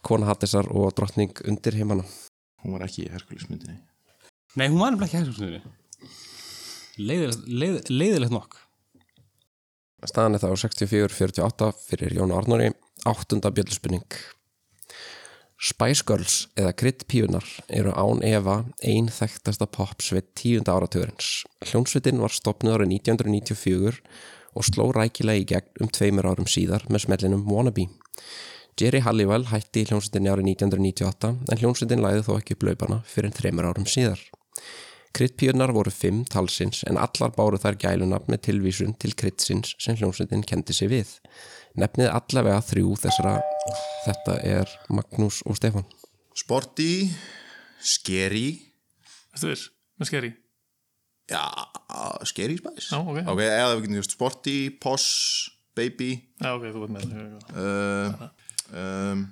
[SPEAKER 1] kona Hadesar og drottning undir heimana
[SPEAKER 5] Hún var ekki í Herkulismyndinni
[SPEAKER 3] Nei, hún var nefnilega ekki hægstofsniðinu leiðilegt, leið, leiðilegt nokk
[SPEAKER 1] Staðan er þá 64-48 fyrir Jón Arnóri áttunda bjöllspunning Spice Girls eða Crit Píunar eru án efa ein þekktasta popsveit tíunda áratugurins. Hljónsveitin var stopnud árið 1994 og sló rækilega í gegn um tveimur árum síðar með smellinum Wannabe. Jerry Halliwell hætti í hljónsveitinni árið 1998 en hljónsveitin læði þó ekki upp laupana fyrir þreimur árum síðar. Kryddpíurnar voru fimm talsins en allar báru þær gælunafn með tilvísun til kryddsins sem hljómsveitin kendi sig við. Nefnið allavega þrjú þessara, þetta er Magnús og Stefán.
[SPEAKER 5] Sporty Scary
[SPEAKER 4] Ertu viss? Með skeri?
[SPEAKER 5] Já, Scary Spice
[SPEAKER 4] Já, ok.
[SPEAKER 5] Ok, eða við getum just Sporty, Posh, Baby
[SPEAKER 4] Já, ok, þú veit með það
[SPEAKER 5] uh, um,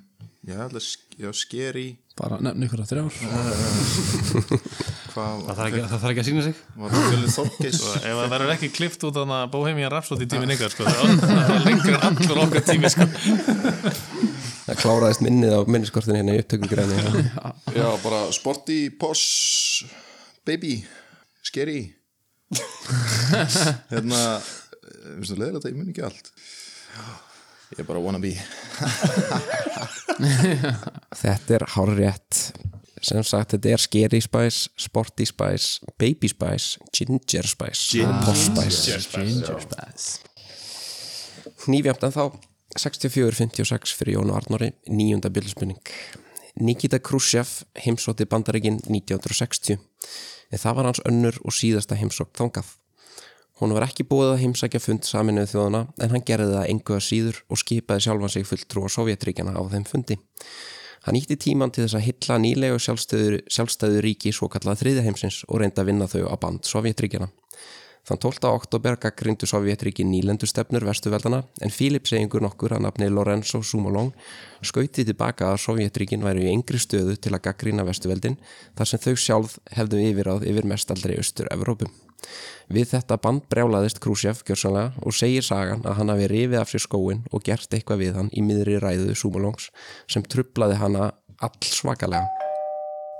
[SPEAKER 5] Já, alltaf já, Scary
[SPEAKER 2] Bara nefn ykkur að þrjár
[SPEAKER 5] Hvað
[SPEAKER 3] Það þarf ekki, það þarf ekki að sína sig
[SPEAKER 5] var það fjölið
[SPEAKER 3] <laughs>
[SPEAKER 5] þorkis
[SPEAKER 4] Ef það verður ekki klift út þannig að Bohemian Rhapsody tíminn ykkar sko, <laughs> það er lengur allur okkar tími sko.
[SPEAKER 1] Það kláraðist minnið á minniskortinu hérna í upptökugræðinu.
[SPEAKER 5] Já, bara Sporty, Posh, Baby sker
[SPEAKER 3] <laughs>
[SPEAKER 5] í hérna eh, veistu leðilegt að ég mun ekki allt ég er bara wannabe
[SPEAKER 1] Þetta er hárrétt sem sagt, þetta er Scary Spice, Sporty Spice, Baby Spice, Ginger Spice og Posh Spice
[SPEAKER 2] Ginger Spice
[SPEAKER 1] Nýfjöfn en þá 64-56 fyrir Jónu Arnóri nýjunda bjöldspunning Nikita Khrushchev heimsótti bandaríkin 1960 en það var hans önnur og síðasta heimsók þangað Hún var ekki búið að heimsækja fund saminuð þjóðana en hann gerði það engu að síður og skipaði sjálfan sig fulltrú á Sovjetríkjana á þeim fundi. Hann ítti tíman til þess að hylla nýlegu sjálfstæður, sjálfstæður ríki svo kallað þriðaheimsins og reynda að vinna þau á band Sovjetríkjana. Þann 12. oktober gaggrindu Sovjetríki nýlendustefnur vestuveldana en Filip segingur nokkur að nafni Lorenzo Sumolong skauti tilbaka að Sovjetríkin væri í engri stöðu til að gaggrina vestuveldin þar sem þau sjálf hefðu yfirráð yfir mestaldri austur-Evrópu. Við þetta band brjálaðist Khrushchev gjörsanlega og segir sagan að hann hafi rifið af sér skóin og gert eitthvað við hann í miðri ræðu Sumolongs sem trublaði hana all svakalega.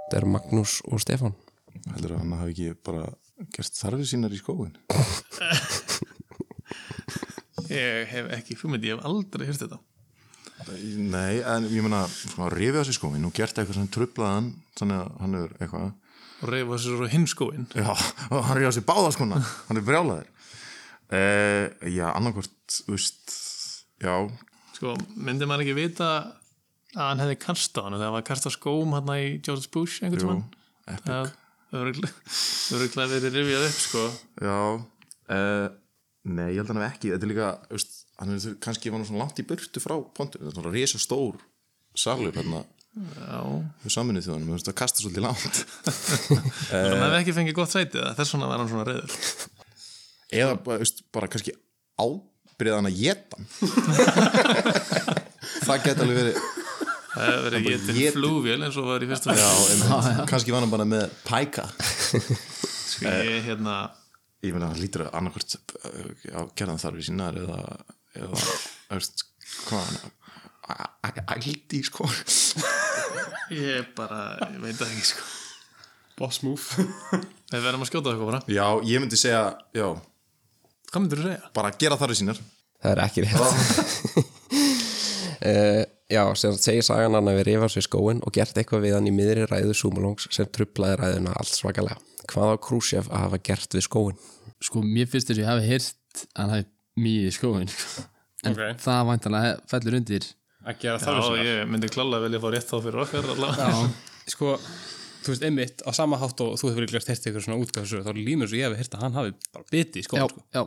[SPEAKER 1] Þetta er Magnús og Stefán.
[SPEAKER 5] heldur að hann hafi ekki bara gert þarfið sínar í skóin
[SPEAKER 4] Ég hef ekki hugmynd, ég hef aldrei hérst þetta
[SPEAKER 5] nei, en ég meina svona, rifið á sér skóin og gert eitthvað sem trublaði hann þannig að hann er eitthvað
[SPEAKER 4] og reyfa sér á hinskóin
[SPEAKER 5] Já, <laughs> og hann er á sig báða skona hann er brjálaður uh, Já, annarkvort, veist Já,
[SPEAKER 4] sko, myndi maður ekki vita að hann hefði kastað hann þegar hann var að kasta skóm hann í George Bush einhvern
[SPEAKER 5] jú,
[SPEAKER 4] tímann það öruglega verið rifjað upp sko
[SPEAKER 5] já uh, Nei, ég held hann hef ekki Þetta er líka, veist, hann er kannski var nú svona langt í burtu frá pontu Þetta er svona risa stór salur hérna
[SPEAKER 4] já,
[SPEAKER 5] við saminuð þjóðanum, þú veist, það kasta svolítið langt Eh.
[SPEAKER 4] hann hefði ekki fengið gott sætið það þess vegna var hann svona reyður
[SPEAKER 5] Eða, bara, veist, bara kannski ábyrðan að geta hann. Það geti alveg verið
[SPEAKER 4] það hefði verið getinn
[SPEAKER 5] étinn.
[SPEAKER 4] flúvél eins og var í fyrsta
[SPEAKER 5] Já, einmitt, kannski var hann bara með pæka
[SPEAKER 4] sko,
[SPEAKER 5] eh.
[SPEAKER 4] ég hérna
[SPEAKER 5] ég meina hann lítur að annarkvort eh, á gerðan þarfir sínar eða eða, veist, hvað hann ældi sko
[SPEAKER 4] ég bara, ég veit það ekki sko
[SPEAKER 3] Boss move
[SPEAKER 4] við verðum að skjóta okkur bara
[SPEAKER 5] já, ég myndi segja, já,
[SPEAKER 4] hvað myndur þú segja?
[SPEAKER 5] bara gera þarfir sínar
[SPEAKER 1] Það er ekki rétt <laughs> uh, Já, sem sagt segir sagan hann að við rifað sér skóin og gert eitthvað við hann í miðri ræðu Sumalongs sem trublaði ræðuna allt svakalega Hvað á Khrushchev að hafa gert við skóin?
[SPEAKER 2] Sko, mér finnst þess að ég hafi heyrt að hann hafi mýið í skóin sko. En
[SPEAKER 3] Ok.
[SPEAKER 2] það væntanlega fellur undir
[SPEAKER 3] að gera þarfir sínar
[SPEAKER 4] já, ég myndi klálega velja að fá rétt þá fyrir okkar allavega
[SPEAKER 3] Já, sko, þú veist, einmitt á sama hátt og þú hefur líklega hirt eitthvað svona útgáðsögu þá límur svo ég hefur hirt að hann hafi bara biti í
[SPEAKER 2] Já,
[SPEAKER 3] skóla, sko
[SPEAKER 2] já,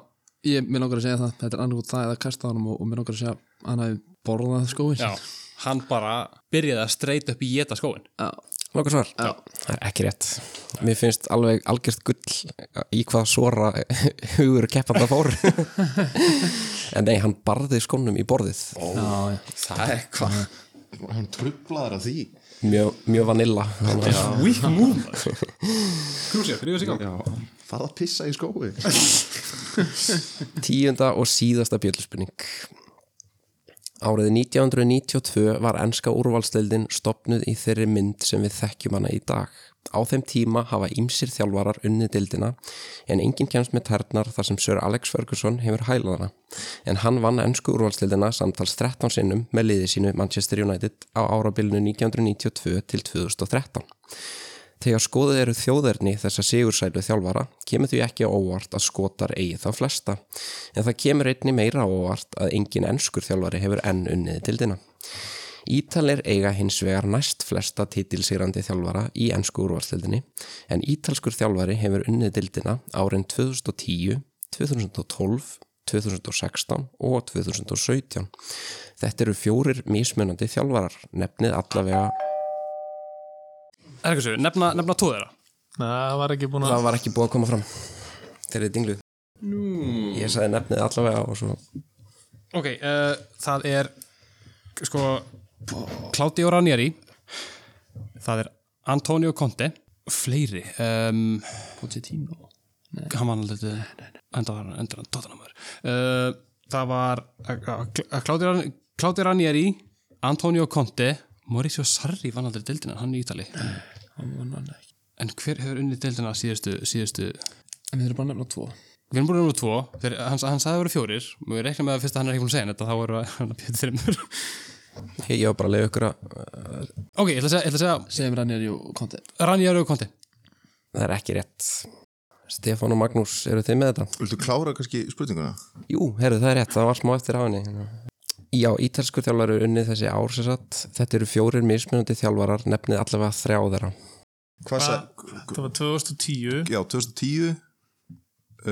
[SPEAKER 2] ég, mér langar að segja það Þetta er annað út það eða kasta honum og, og mér langar að segja að hann hafi borðað sko, skóin
[SPEAKER 3] Já, hann bara byrjaði að streyta upp í geta skóin
[SPEAKER 1] Lókar svar? Já. Það er ekki rétt Mér finnst alveg algjört gull í hvað svora <laughs> hugur keppanda fór <laughs> En nei, hann barði skónum í borðið
[SPEAKER 2] já, já.
[SPEAKER 5] það er hvað hann trublaður að því
[SPEAKER 1] Mjög, mjög vanilla Hann var-
[SPEAKER 3] Weak move Krúsið, þrjóðu sig gang
[SPEAKER 5] já, farð að pissa í skói
[SPEAKER 1] Tíunda og síðasta bjöldspurning. Árið 1992 var enska úrvalsleildin stopnuð í þeirri mynd sem við þekkjum hana í dag. Á þeim tíma hafa ýmsir þjálfarar unnið dildina en enginn kemst með ternar þar sem Sir Alex Ferguson hefur hælað hana. En hann vann ensku úrvalsleildina samtals 13 sinnum með liði sínu Manchester United á árabilinu 1992 til 2013. Þegar skoðið eru þjóðerni þessa sigursælu þjálfara kemur því ekki á óvart að skotar eigi þá flesta en það kemur einni meira á óvart að engin enskur þjálfari hefur enn unnið til dina. Ítalir eiga hins vegar næst flesta titilsýrandi þjálfara í ennsku úrvalstildinni en ítalskur þjálfari hefur unnið dildina árin 2010, 2012, 2016 og 2017. Þetta eru fjórir mismunandi þjálfarar, nefnið allavega
[SPEAKER 3] Erkessu, nefna, nefna tvo þeirra
[SPEAKER 4] Næ, það var ekki búin
[SPEAKER 1] það
[SPEAKER 4] að
[SPEAKER 1] var ekki búið að koma fram þegar þið dingluð Nú. ég sagði nefnið allavega og svo
[SPEAKER 3] Ok, uh, það er sko Claudio Ranieri það er Antonio Conte fleiri um,
[SPEAKER 2] Pochettino
[SPEAKER 3] hann var alveg enda var hann endur hann tóttanamöður uh, það var Claudio Ranieri Antonio Conte Mauricio Sarri vann aldrei dildina, hann í Ítali
[SPEAKER 2] Hann vann hann ekki
[SPEAKER 3] en hver hefur unnið deildina síðustu, síðustu
[SPEAKER 2] En við erum bara að nefna tvo
[SPEAKER 3] við erum búin að vera tvo, þeir, hans, hann sagði að vera fjórir og við reikna með að fyrst að hann er ekki búin að segja þetta þá erum við að bjöta þreymur
[SPEAKER 1] Ég var bara að leiða ykkur að
[SPEAKER 3] <laughs> ok, ég ætla að segja, ég ætla að segja
[SPEAKER 2] Segjum Rannir Jú Konti
[SPEAKER 3] Rani Jörgur Konti
[SPEAKER 1] það er ekki rétt Stefán og Magnús, eru þið með þetta?
[SPEAKER 5] Viltu klára kannski spurninguna?
[SPEAKER 1] Jú, herru, það er rétt, það var smá eftir á henni Já, ítalskur þjálfari er unnið þessi ár sem sagt, þetta eru fjórir mismunandi þjálfarar, nefnið allavega þrjá þeirra
[SPEAKER 5] Hvað
[SPEAKER 4] Hva?
[SPEAKER 5] sagði?
[SPEAKER 4] Það var 2010
[SPEAKER 5] Já, 2010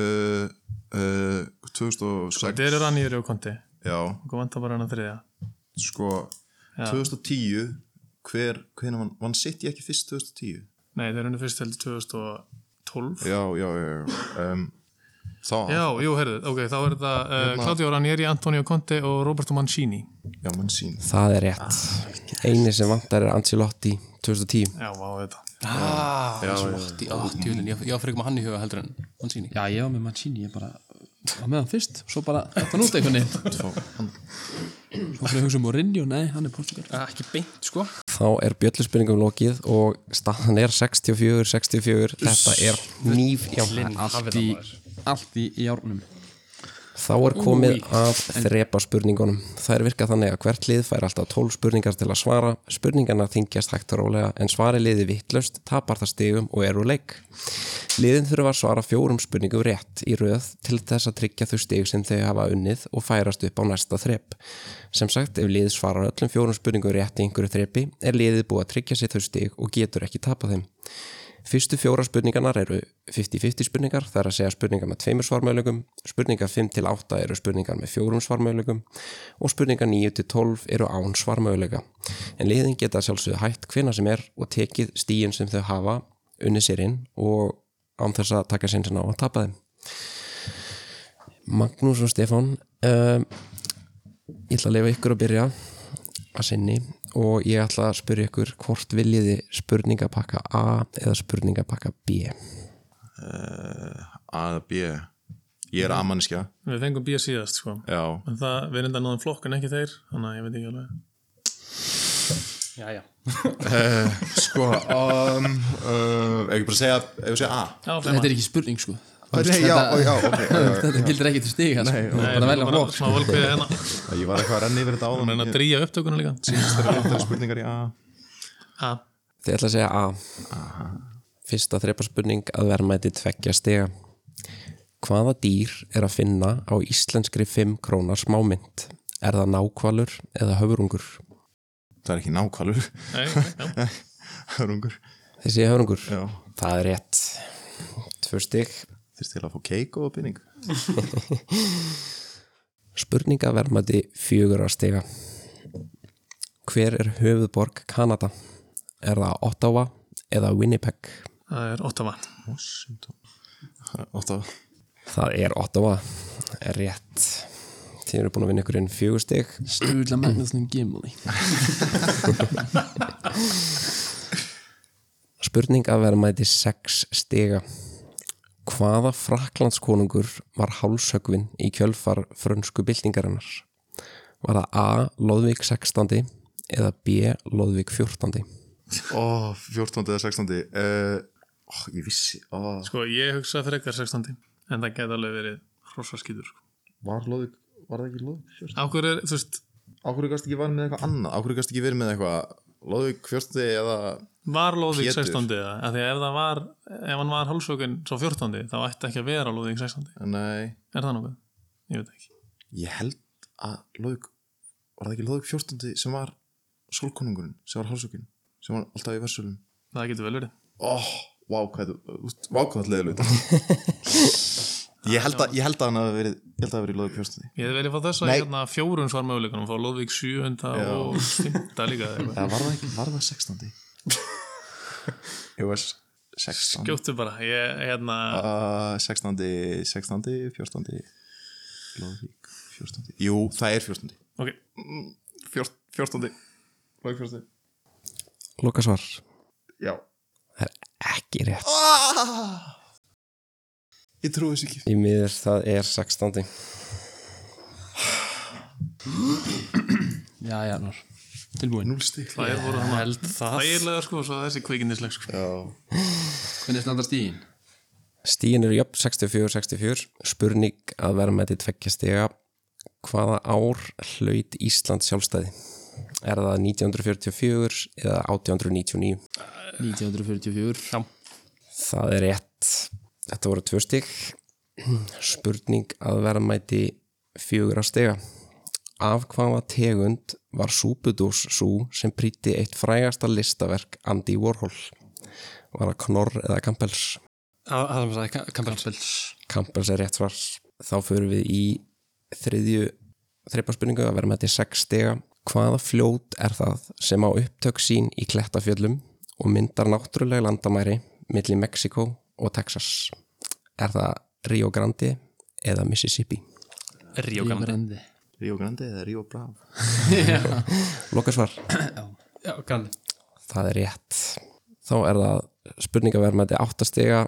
[SPEAKER 5] uh, uh, 2006
[SPEAKER 4] Þetta eru rannýri og konti
[SPEAKER 5] Já,
[SPEAKER 4] og vantar bara hann að þriðja
[SPEAKER 5] sko 2010 Hver, hvernig vann, vann sitt ég ekki fyrst 2010?
[SPEAKER 4] Nei, þeir eru fyrst heldur 2012
[SPEAKER 5] Já, já, já, já um, Þá,
[SPEAKER 4] Já, jú, herðu, ok, þá er það uh,
[SPEAKER 2] Hérna-
[SPEAKER 4] Claudio Ranieri, Antonio Conte og Roberto Mancini
[SPEAKER 5] já, mann sín
[SPEAKER 1] Það er rétt Eini sem vantar er Ancelotti 2010
[SPEAKER 4] Já, vá, þetta
[SPEAKER 3] aaaah, slótt í áttjúlin ég á fyrir ekki með hann í huga heldur en hann síni
[SPEAKER 2] Já, ég var með Mancini, ég bara var með hann fyrst, svo bara þetta nút einhvern
[SPEAKER 5] <laughs>
[SPEAKER 2] veginn Svo fyrir að hugsa um Mourinho, nei, hann er portugal
[SPEAKER 3] ekki beint sko
[SPEAKER 1] Þá er bjölluspurningum lokið og staðan er 64-64 Þetta er nýf já,
[SPEAKER 2] Allt í, allt í, í árnum
[SPEAKER 1] Þá er komið að þrepa spurningunum Það er virkað þannig að hvert lið fær alltaf 12 spurningar til að svara Spurningarna þingjast hægt og rólega en svari liði vittlust, tapar það stigum og er úr leik Liðin þurfa að svara fjórum spurningum rétt í röð til þess að tryggja þau stig sem þau hafa unnið og færast upp á næsta þrep Sem sagt, ef lið svarar öllum fjórum spurningum rétt í einhverju þrepi er liðið búið að tryggja sér þau stig og getur ekki tapað þeim Fyrstu fjóra spurningarnar eru 50-50 spurningar, það er að segja spurningar með tveimur svarmöðlögum, spurningar 5-8 eru spurningar með fjórum svarmöðlögum og spurningar 9-12 eru án svarmöðlöga. En liðin geta að sjálfsögðu hætt hvena sem er og tekið stíin sem þau hafa unni sér inn og án þess að taka sinnsinn á að tapa þeim. Magnús og Stefán, um, ég ætla að leifa ykkur að byrja að sinni og ég ætla að spyrja ykkur hvort viljiði spurningapakka A eða spurningapakka B
[SPEAKER 5] A eða B Ég er A-mannskja
[SPEAKER 4] Við fengum býja síðast, sko
[SPEAKER 5] Já,
[SPEAKER 4] En það, við erum þetta náðum flokkun ekki þeir Þannig að ég veit ekki alveg
[SPEAKER 3] já, já
[SPEAKER 5] sko um, uh, Ef ég bara segja, ef ég segja A
[SPEAKER 4] Já,
[SPEAKER 2] Þetta er ekki spurning, sko
[SPEAKER 5] Nei, já, ó, já, ok já, <laughs> já,
[SPEAKER 2] Þetta gildir ekki til stiga, sko Þú er bara að
[SPEAKER 4] bara
[SPEAKER 2] velja
[SPEAKER 4] bara
[SPEAKER 2] flokk
[SPEAKER 4] smá valkviða
[SPEAKER 2] <laughs>
[SPEAKER 4] hérna
[SPEAKER 5] já Ég var eitthvað að renna yfir þetta áðan
[SPEAKER 4] En að drýja upptökuna líka
[SPEAKER 5] Síðast er réttari spurningar í A
[SPEAKER 4] Ha,
[SPEAKER 1] Þið ætla að segja A Fyrsta þrepa spurning að verma þetta tveggja stiga Hvaða dýr er að finna á íslenskri 5 krónar smámynd? Er það nákvalur eða höfurungur?
[SPEAKER 5] Það er ekki nákvæmur <laughs>
[SPEAKER 4] nei, já
[SPEAKER 5] Hörungur
[SPEAKER 1] Þið segja höfurungur?
[SPEAKER 5] Já
[SPEAKER 1] Það er rétt Tvö stig
[SPEAKER 5] Þurfti til að fá keik og pinning
[SPEAKER 1] Spurninga vermaði fjögur að stiga. Hver er höfuðborg Kanada? Er það Ottawa eða Winnipeg?
[SPEAKER 4] Það er Ottawa
[SPEAKER 5] Óttaf
[SPEAKER 1] Það er Ottawa, er rétt. Þið eru búin að vinna ykkur inn fjögur stig.
[SPEAKER 2] Stuðla Magnúsnum Gimli
[SPEAKER 1] Spurninga vermaði sex stiga. Hvaða fraklandskonungur var hálsökvin í kjölfar frönsku byltingarinnar? Var það A. Lóðvík 16. eða B. Lóðvík 14.
[SPEAKER 5] Ó, 14. eða 16. Uh, ó, ég vissi ó,
[SPEAKER 4] Sko, ég hugsa frekar 16 En það gæti alveg verið hrossaskýtur, sko
[SPEAKER 5] Var Lóðvík, var það ekki Lóðvík?
[SPEAKER 4] Á hverju er, þú veist,
[SPEAKER 5] Ákvörðu gæst ekki verið með eitthvað annað Ákvörðu gæst ekki verið með eitthvað Lóðvík 14. eða
[SPEAKER 4] Var Lóðvík
[SPEAKER 5] Pétur.
[SPEAKER 4] 16. eða? Af Því að ef það var, ef hann var hálsökun svo 14. þá ætti ekki að vera Lóðvík 16.
[SPEAKER 5] Nei,
[SPEAKER 4] Er það nokkuð? Ég veit ekki.
[SPEAKER 5] ég held að Lóðvík Var það ekki Lóðvík 14. sem var Sólkonungurinn, sem var hálsökinn Sem var alltaf í versölum
[SPEAKER 4] Það getur vel verið.
[SPEAKER 5] Ó, vá, hvað þú Vákvæðlega <laughs> hlut Ég held að, ég held að hann hafi verið Ég held að hafi verið Lóðvík 14.
[SPEAKER 4] Ég hefði velið fá þess að
[SPEAKER 5] Nei.
[SPEAKER 4] hérna fjórun svar möguleikunum fá Lóðvík 7.
[SPEAKER 5] Já.
[SPEAKER 4] og 5. líka. eða eitthvað.
[SPEAKER 5] Eða var það ekki, var það 16. Ég var 16.
[SPEAKER 4] Skjóttu bara. Ég, hérna,
[SPEAKER 5] Uh, 16. 16. 14. Lóðvík 14. Jú, það er 14.
[SPEAKER 4] ok.
[SPEAKER 5] 14. Lóðvík 14.
[SPEAKER 1] Loka svar.
[SPEAKER 5] Já
[SPEAKER 1] Ekki rétt.
[SPEAKER 5] ah! Ég trúi þessu ekki
[SPEAKER 1] Í miður það er 16.
[SPEAKER 2] Já, já, Nór tilbúin
[SPEAKER 5] stík
[SPEAKER 4] Það er voru hann
[SPEAKER 2] held það
[SPEAKER 4] þægilega sko og svo þessi kvikindisleg sko.
[SPEAKER 2] Hvernig standast í?
[SPEAKER 1] Stíin eru jöfn 64-64 Spurning að vera með þetta tvekkja stiga Hvaða ár hlaut Ísland sjálfstæði? Er það 1944 eða 1899?
[SPEAKER 2] 1944 Já.
[SPEAKER 1] Það er rétt Þetta voru tvö stig Spurning að vera mæti fjögur á stiga Af hvaða tegund var súpudús sú sem prýtti eitt frægasta listaverk Andy Warhol? Var það Knorr eða Campbells?
[SPEAKER 3] Það sem sagði, Campbell
[SPEAKER 1] Campbells er rétt svar þá förum við í þriðju þreiparspurningu að vera með þetta í sex stiga hvaða fljót er það sem á upptök sín í Klettafjöllum og myndar náttúrulega landamæri milli Mexiko og Texas er það Rio Grande eða Mississippi
[SPEAKER 3] Rio Grande
[SPEAKER 2] Grandi
[SPEAKER 5] Ríó Grandi eða Ríó Brav
[SPEAKER 1] lokasvar,
[SPEAKER 3] Já, Grandi
[SPEAKER 1] það er rétt þá er það spurninga vera með þetta áttastiga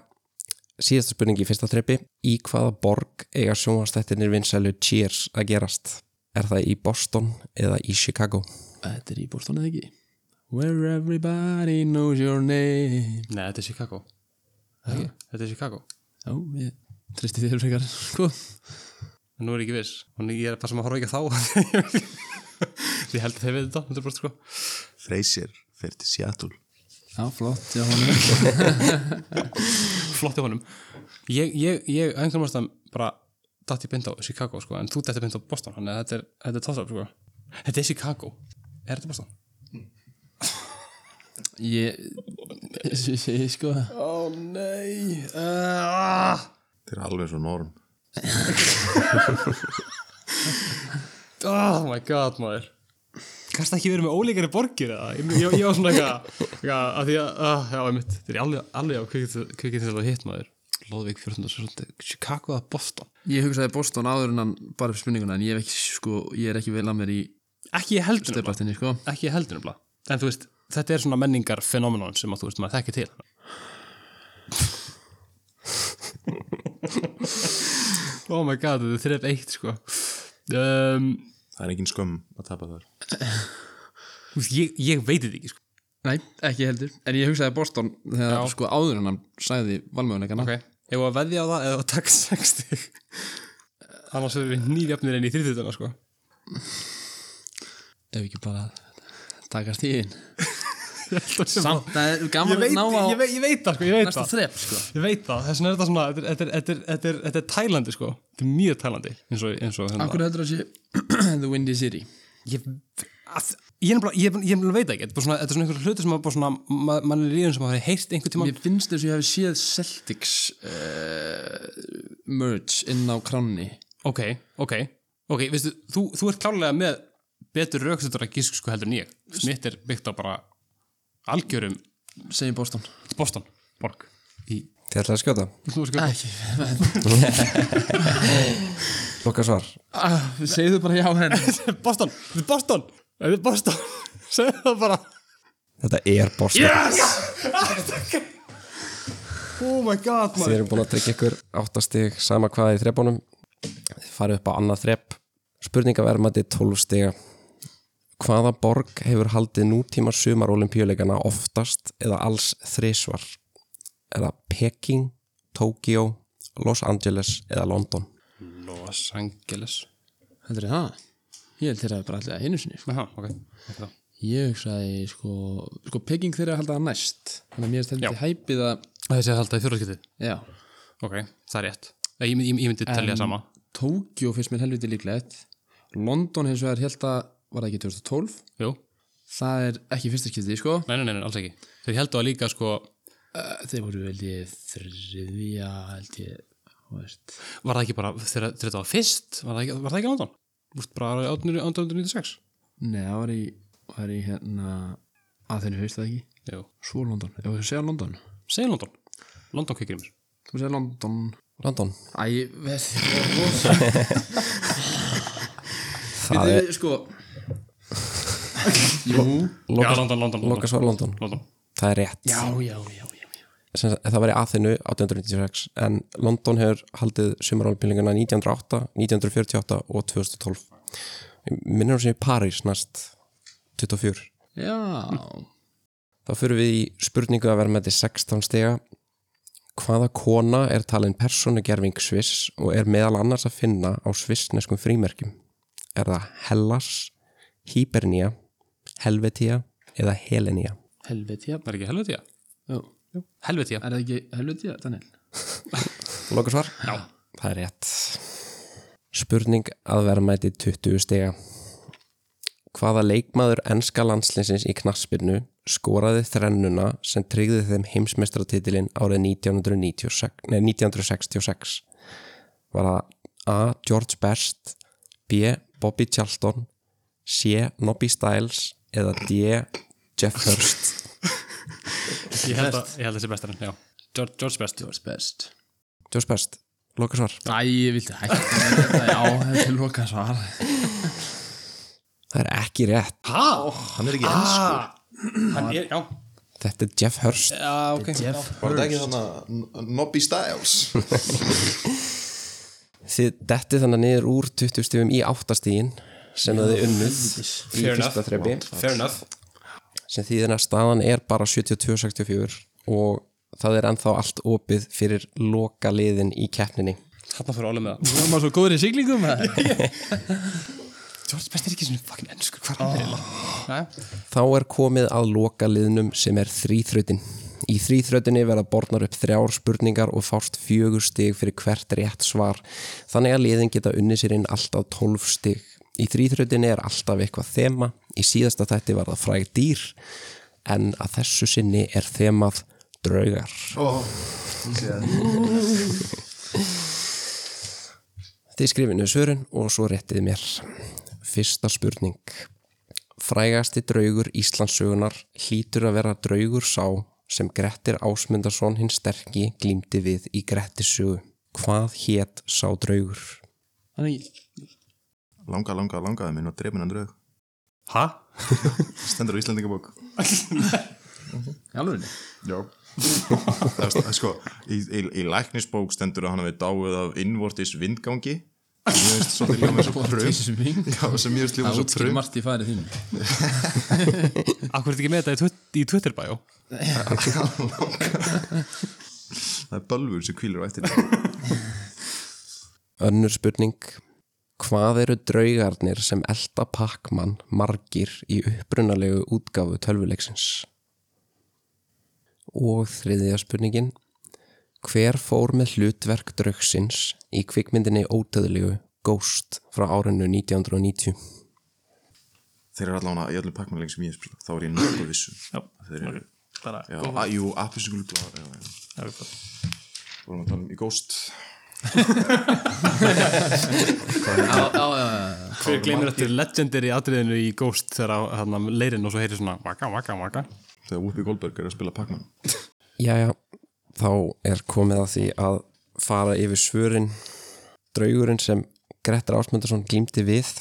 [SPEAKER 1] síðasta spurning í fyrsta treppi í hvaða borg eiga sjónvastættinir vinsælu Cheers að gerast er það í Boston eða í Chicago
[SPEAKER 2] Þetta er í Boston eða ekki Where everybody knows your name
[SPEAKER 3] Nei, þetta er Chicago Þetta er Chicago
[SPEAKER 2] Já, ég tristi þér frekar sko.
[SPEAKER 3] En nú er ég ekki viss Og nú- ég er bara sem að horfa ekki á þá <laughs> Ég held að þeir við þetta 100% sko
[SPEAKER 5] Freysir fer til Seattle
[SPEAKER 2] Já, flott, já, hún er
[SPEAKER 3] Flott í honum Ég, ég, ég einhverjum ástæðum bara Datt ég beint á Chicago sko En þú dætti beint á Boston Þannig að þetta er, þetta er tóðsaf sko Þetta er Chicago Er þetta Boston?
[SPEAKER 2] <laughs> Ég, ég segi sko
[SPEAKER 3] Ó oh, nei uh,
[SPEAKER 5] Þeir eru alveg svo norm
[SPEAKER 3] Oh my god maður Kannst ekki verið með ólíkari borgir eða? Ég, ég, ég var svona eitthvað eitthvað að því að, uh, já, ég mitt Þeir eru alveg, alveg á kvikið til að hitt maður Lóðvík 14. sekundi, Chicago eða Boston
[SPEAKER 2] Ég hugsaði Boston áður en hann bara fyrir spurninguna en ég er ekki, sko, ég er ekki vel að mér í
[SPEAKER 3] Ekki ég heldur nefnilega
[SPEAKER 2] stefastinni, sko
[SPEAKER 3] Ekki ég heldur nefnilega En þú veist, þetta er svona menningar fenómenon sem að þú veist maður þekki til Oh my god, þetta er 3-1 sko um,
[SPEAKER 5] Það er engin skömm að tapa þar
[SPEAKER 3] þú veist, ég, ég veit þetta ekki sko
[SPEAKER 2] Nei, ekki heldur En ég hugsaði Boston þegar
[SPEAKER 3] Já.
[SPEAKER 2] sko áður en hann sagði valmöðunleikana
[SPEAKER 3] Ok, ég var að veðja á það eða að taka 60 Annars erum við nýjafnir enn í þrýðutana sko
[SPEAKER 2] Ef ekki bara takast í inn
[SPEAKER 3] Samt
[SPEAKER 2] Samt, það er gaman
[SPEAKER 3] Ég
[SPEAKER 2] að
[SPEAKER 3] veit,
[SPEAKER 2] ná á
[SPEAKER 3] ég veit, ég veit það sko, ég veit
[SPEAKER 2] næsta
[SPEAKER 3] það
[SPEAKER 2] þrepp, sko
[SPEAKER 3] Ég veit það, þess vegna er þetta svona Þetta er- þetta er- þetta er- þetta er- þetta er tælandi sko Þetta er mjög tælandi eins og, eins og hérna.
[SPEAKER 2] Akkur heldur að sé <clears throat> The Windy City
[SPEAKER 3] Ég, að, ég, nefnilega- ég, ég nefnilega veit það ekki Þetta er bara svona, þetta er svona einhver hluti sem maður bara svona ma, mann er í þeim sem maður hefði heyrt einhver tíma
[SPEAKER 2] Mér finnst þess að ég hef séð Celtics uh, merge inn á kránni
[SPEAKER 3] Ok, ok, ok, veistu þú, þú ert klálega með betur rökstutur að gísk sko heldur en ég Smitt er byggt á bara algjörum
[SPEAKER 2] segjum Boston
[SPEAKER 3] Boston, borg í
[SPEAKER 1] Þið ætlaði að skjóta?
[SPEAKER 2] Ekki,
[SPEAKER 1] Loka svar.
[SPEAKER 2] ah, segðu bara já henni
[SPEAKER 3] Boston, þetta er Boston Þetta er Boston, segðu það bara
[SPEAKER 1] Þetta er Boston.
[SPEAKER 3] Oh my god,
[SPEAKER 1] Þið erum búin að tryggja ykkur áttastig sama hvað í þrepunum. Þið farið upp á annað þrep. Spurninga verðum að þetta er 12 stiga. Hvaða borg hefur haldið nútíma sumar olimpíuleikana oftast eða alls þrisvar? Er það Peking, Tokyo, Los Angeles eða London?
[SPEAKER 3] Los Angeles
[SPEAKER 2] Heldur þið það? Ég held þeirra bara allir að hinu sinni sko.
[SPEAKER 3] Aha, ok, ok þá.
[SPEAKER 2] Ég hugsaði sko sko Peking þeirra haldið að næst þannig að mér er heldur hæpið að
[SPEAKER 3] Þessi er alltaf í fjóraðskiptið
[SPEAKER 2] já,
[SPEAKER 3] Ok, það er rétt Ég, ég, ég, ég myndi telja sama
[SPEAKER 2] Tokyo finnst mér helviti líklegt London hins vegar held að var það ekki 2012
[SPEAKER 3] Jú,
[SPEAKER 2] það er ekki fyrsta skipti sko
[SPEAKER 3] nei, nei, nei, nei, alls ekki Þeir heldur að líka sko
[SPEAKER 2] Uh, þeir voru held ég þriðja held ég þú veist.
[SPEAKER 3] Var það ekki bara, þegar þegar þetta var fyrst Var það ekki, var það ekki London? Vist bara 1896
[SPEAKER 2] Nei, það var í, var í hérna að þeirni haust það ekki
[SPEAKER 3] Jú,
[SPEAKER 2] Svo London, ef við segja London
[SPEAKER 3] segir London London kveikir í mér
[SPEAKER 2] Þú segja London
[SPEAKER 1] London.
[SPEAKER 2] Æ, veð <laughs>
[SPEAKER 1] Það er
[SPEAKER 2] Sko Jú
[SPEAKER 3] Já, London, London, London,
[SPEAKER 1] loka svar London.
[SPEAKER 3] London.
[SPEAKER 1] Það er rétt.
[SPEAKER 2] Já, já, já, já, já.
[SPEAKER 1] sem sagt, það var í Aþinu 1896 en London hefur haldið sumarálpillinguna 1908, 1948 og 2012 minnur sem í París næst 24
[SPEAKER 2] Já,
[SPEAKER 1] Þá fyrir við í spurningu að vera með þetta 16 stiga. Hvaða kona er talin persónugerfing Sviss og er meðal annars að finna á svissneskum frímerkjum? Er það Hellas, Hibernia, Helvetia eða Helenia?
[SPEAKER 2] helviti, já.
[SPEAKER 3] Það er ekki helviti, já.
[SPEAKER 2] já.
[SPEAKER 3] Helviti, já.
[SPEAKER 2] Er það ekki helviti, já, Daniel?
[SPEAKER 1] Lokur svar? Já. Það er rétt. Spurning að vera með 20 stiga. Hvaða leikmaður enska landslinsins í knaspinu skoraði þrennuna sem tryggði þeim heimsmestratitilinn árið 1996, nei, 1966? Var það A. George Best, B. Bobby Charlton, C. Nobby Stiles eða D. Jeff Hurst?
[SPEAKER 3] Ég held að ég held að þessi bestarinn, já. George, George Best.
[SPEAKER 2] George Best.
[SPEAKER 1] George Best, lokasvar.
[SPEAKER 2] Æ, ég vilti hægt með þetta, já, þetta er loka svar.
[SPEAKER 1] Það er ekki rétt.
[SPEAKER 3] Hæ?
[SPEAKER 5] Hann er ekki enn
[SPEAKER 3] Hann er, já.
[SPEAKER 1] Þetta er Jeff Hurst.
[SPEAKER 3] Já, ok.
[SPEAKER 2] Jeff
[SPEAKER 5] Var þetta ekki þarna Nobby Styles?
[SPEAKER 1] þið dettið þannig niður úr 20 stífum í 8 stígin sem það er unnuð í
[SPEAKER 3] Fair
[SPEAKER 1] fyrsta
[SPEAKER 3] enough.
[SPEAKER 1] þrepi
[SPEAKER 3] Fair enough.
[SPEAKER 1] sem þýðir að staðan er bara 72-64 og það er ennþá allt opið fyrir loka liðin í keppninni
[SPEAKER 3] Þarna fyrir Óli með það.
[SPEAKER 2] Þú erum að svo góður í siglingum, eða?
[SPEAKER 3] George Best er ekki svona fucking ennskur. Hvað er hann? Oh.
[SPEAKER 1] þá er komið að loka liðnum sem er þrýþrautin í þrýþrautinni verða borðnar upp þrjár spurningar og fást fjögur stig fyrir hvert rétt svar þannig að liðin geta unni sér inn alltaf 12 stig í þrýþrautinni er alltaf eitthvað þema í síðasta þætti var það fræg dýr en að þessu sinni er þemað draugar Þið skrifinu svörun og svo réttið mér. Fyrsta spurning. Frægasti draugur Íslandsugunar hlýtur að vera draugur sá sem Grettir Ásmundarsson hinn sterki glýmdi við í Grettisugu. Hvað hétt sá draugur?
[SPEAKER 2] Þannig,
[SPEAKER 5] <laughs> Langa, langa, langaði minn og drefin hann draug.
[SPEAKER 3] Hæ?
[SPEAKER 5] <laughs> Stendur á Íslandingabók.
[SPEAKER 2] í alveg,
[SPEAKER 5] Já. það er st- sko, í, í, í læknisbók stendur að hann hefði dáið af innvortis vindgangi. Mér finnst svolítið líka með svo draug.
[SPEAKER 2] þessu ving.
[SPEAKER 5] Já, sem mér finnst líka
[SPEAKER 2] Það
[SPEAKER 5] með svo
[SPEAKER 2] útskýr
[SPEAKER 5] draug.
[SPEAKER 2] margt í farið þínu.
[SPEAKER 3] Akkur er þetta ekki með þetta í Twitter- í Twitterbæjó?
[SPEAKER 5] Það er bölvur sem kvílir á eftir þetta.
[SPEAKER 1] Önnur spurning. Hvað eru draugarnir sem elda pakkmann margir í upprunalegu útgáfu tölvuleiksins? Og þriðja spurningin. Hver fór með hlutverk draugsins í kvikmyndinni ótöðlegu Ghost frá árinu 1990?
[SPEAKER 5] Þeir eru allavega í öllum pakkmæling sem ég hef spilað. Þá er ég nokkuð vissum.
[SPEAKER 4] Já,
[SPEAKER 5] Þeir eru,
[SPEAKER 4] ok, bara
[SPEAKER 5] já,
[SPEAKER 4] góð-
[SPEAKER 5] að, jú, appisugul, já, já, já.
[SPEAKER 4] já, við bara-
[SPEAKER 5] Vorum að tala um í Ghost.
[SPEAKER 2] Já, já, já, já.
[SPEAKER 3] Hver gleymir þetta legendary atriðinu í Ghost þegar hann leirinn og svo heyrir svona vaka, vaka, vaka.
[SPEAKER 5] Þegar Whoopi Goldberg er að spila pakkmæling.
[SPEAKER 1] Jæja, þá er komið að því að fara yfir svörin draugurinn sem Grettir Ásmundarsson glýmdi við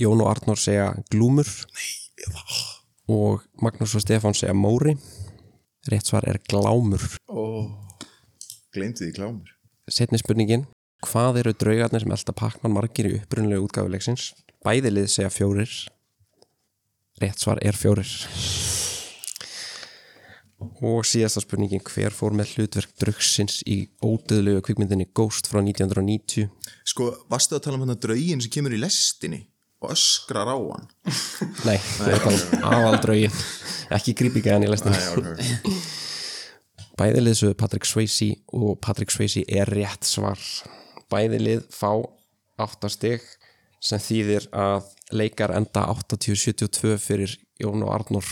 [SPEAKER 1] Jón og Arnór segja glúmur Nei, og Magnús og Stefán segja móri rétt svar er glámur
[SPEAKER 5] Gleimti því klámur.
[SPEAKER 1] setni spurningin hvað eru draugarnir sem elda pakkmann margir í upprunlegu útgáfuleiksins bæðilið segja fjórir rétt svar er fjórir og síðasta spurningin hver fór með hlutverk draugsins í ódöðlegu kvikmyndinni Ghost frá 1990
[SPEAKER 5] Sko, varstu að tala um hérna draugin sem kemur í lestinni og öskrar á hann?
[SPEAKER 1] nei, það er bara aðaldraugin ekki grípikaðan í lestinni
[SPEAKER 5] Já, ok, ok.
[SPEAKER 1] Bæði lið sögðu Patrick Swayze og Patrick Swayze er rétt svar. Bæði lið fá 8 stig sem þýðir að leikar enda 80-72 fyrir Jón og Arnór.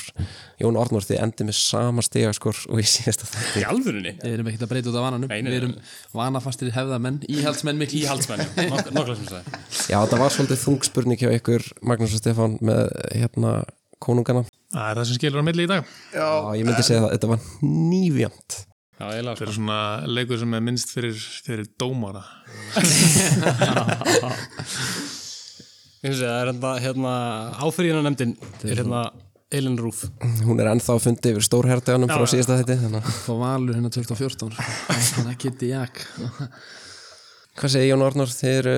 [SPEAKER 1] Jón og Arnór þið endi með sama stigaskor og ég síðast að það.
[SPEAKER 3] Í alvörunni?
[SPEAKER 2] Við erum ekkert að breyta út af vananum.
[SPEAKER 3] Nei, nei, nei.
[SPEAKER 2] Við erum vanafastir hefðamenn, íhaldsmenn mikil.
[SPEAKER 3] Íhaldsmenn, já. Nok- nokkla sem sagði.
[SPEAKER 1] Já, þetta var svolítið þungspurning hjá ykkur Magnús og Stefán með hérna konungana.
[SPEAKER 4] Það er það sem skilur á milli í dag
[SPEAKER 1] Já, ég myndi segja það, þetta var nýfjönd.
[SPEAKER 3] Já, sko. eiginlega.
[SPEAKER 4] Þetta er svona leikur sem er minnst fyrir, fyrir <laughs> dómara
[SPEAKER 3] Ég finnst að það er hérna, hérna áfyrirjunanemndin er hérna Elin Rúf
[SPEAKER 1] Hún er ennþá að fundi yfir stórherteganum frá síðasta þetta. Þannig. að-
[SPEAKER 2] Fá valur hérna 2014. Þannig að geti jak.
[SPEAKER 1] Hvað segir Jón og Arnór? Þið eru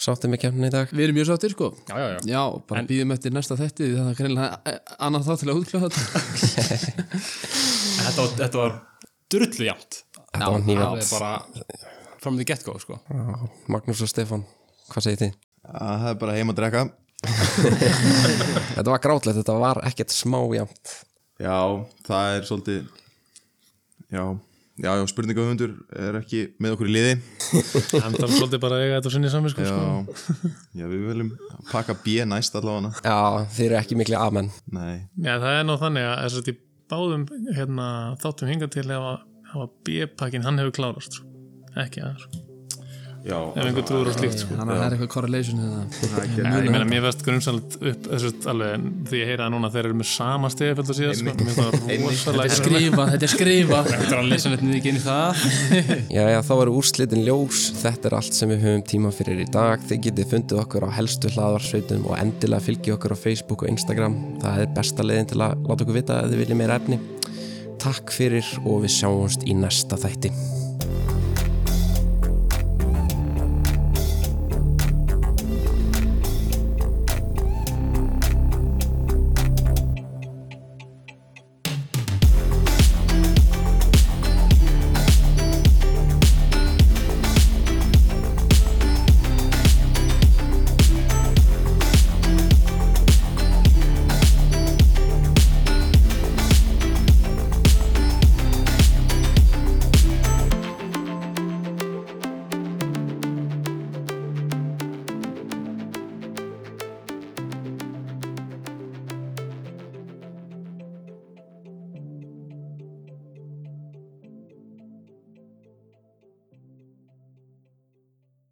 [SPEAKER 1] Sáttum við kemna í dag
[SPEAKER 2] Við erum mjög sáttir sko
[SPEAKER 3] Já, já, já.
[SPEAKER 2] Já, bara býðum eftir næsta þetti því það er greinlega annað þá til að útkláða þetta
[SPEAKER 3] En Þetta, var- þetta var drullu jæmt
[SPEAKER 1] Þetta var nýja
[SPEAKER 3] Það er bara from the get go sko.
[SPEAKER 1] Magnús og Stefán, hvað segir þið?
[SPEAKER 5] Það er bara heim að drekka
[SPEAKER 1] Þetta var grátlegt, þetta var ekkert smájamt
[SPEAKER 5] Já, það er svolítið Já, já, já spurningahöfundur er ekki með okkur í liði
[SPEAKER 4] Hann þarf svolítið bara að eiga þetta á sinni samvisku sko.
[SPEAKER 5] Já, já við viljum pakka B næst allavega
[SPEAKER 1] Já, þeir eru ekki miklu amenn
[SPEAKER 5] Nei,
[SPEAKER 4] Já, það er nú þannig að þess að í báðum hérna, þáttum hinga til hafa, hafa B-pakkin, hann hefur klárast sko. ekki aðeins, sko.
[SPEAKER 5] já,
[SPEAKER 4] ef einhver trúur á slíkt sko.
[SPEAKER 2] Þannig að það er eitthvað correlation hérna
[SPEAKER 5] það er ekki
[SPEAKER 4] Já, ég meina, mér verðst grunnsælt upp þessu alveg, en því ég heyra það núna að þeir eru með sama stegafjöld og síðan, sko, mér það rosalega
[SPEAKER 2] Skrifa, þetta er skrifa
[SPEAKER 3] Þetta er að lesa neitt niður ekki inn í það
[SPEAKER 1] Já, já, þá eru úrslitin ljós Þetta er allt sem við höfum tíma fyrir í dag Þið getið fundið okkur á helstu hlaðvarsveitum og endilega fylgið okkur á Facebook og Instagram Það er besta leiðin til að láta okkur vita ef þið viljið meira efni Takk fyrir og við sjáumst í næsta þætti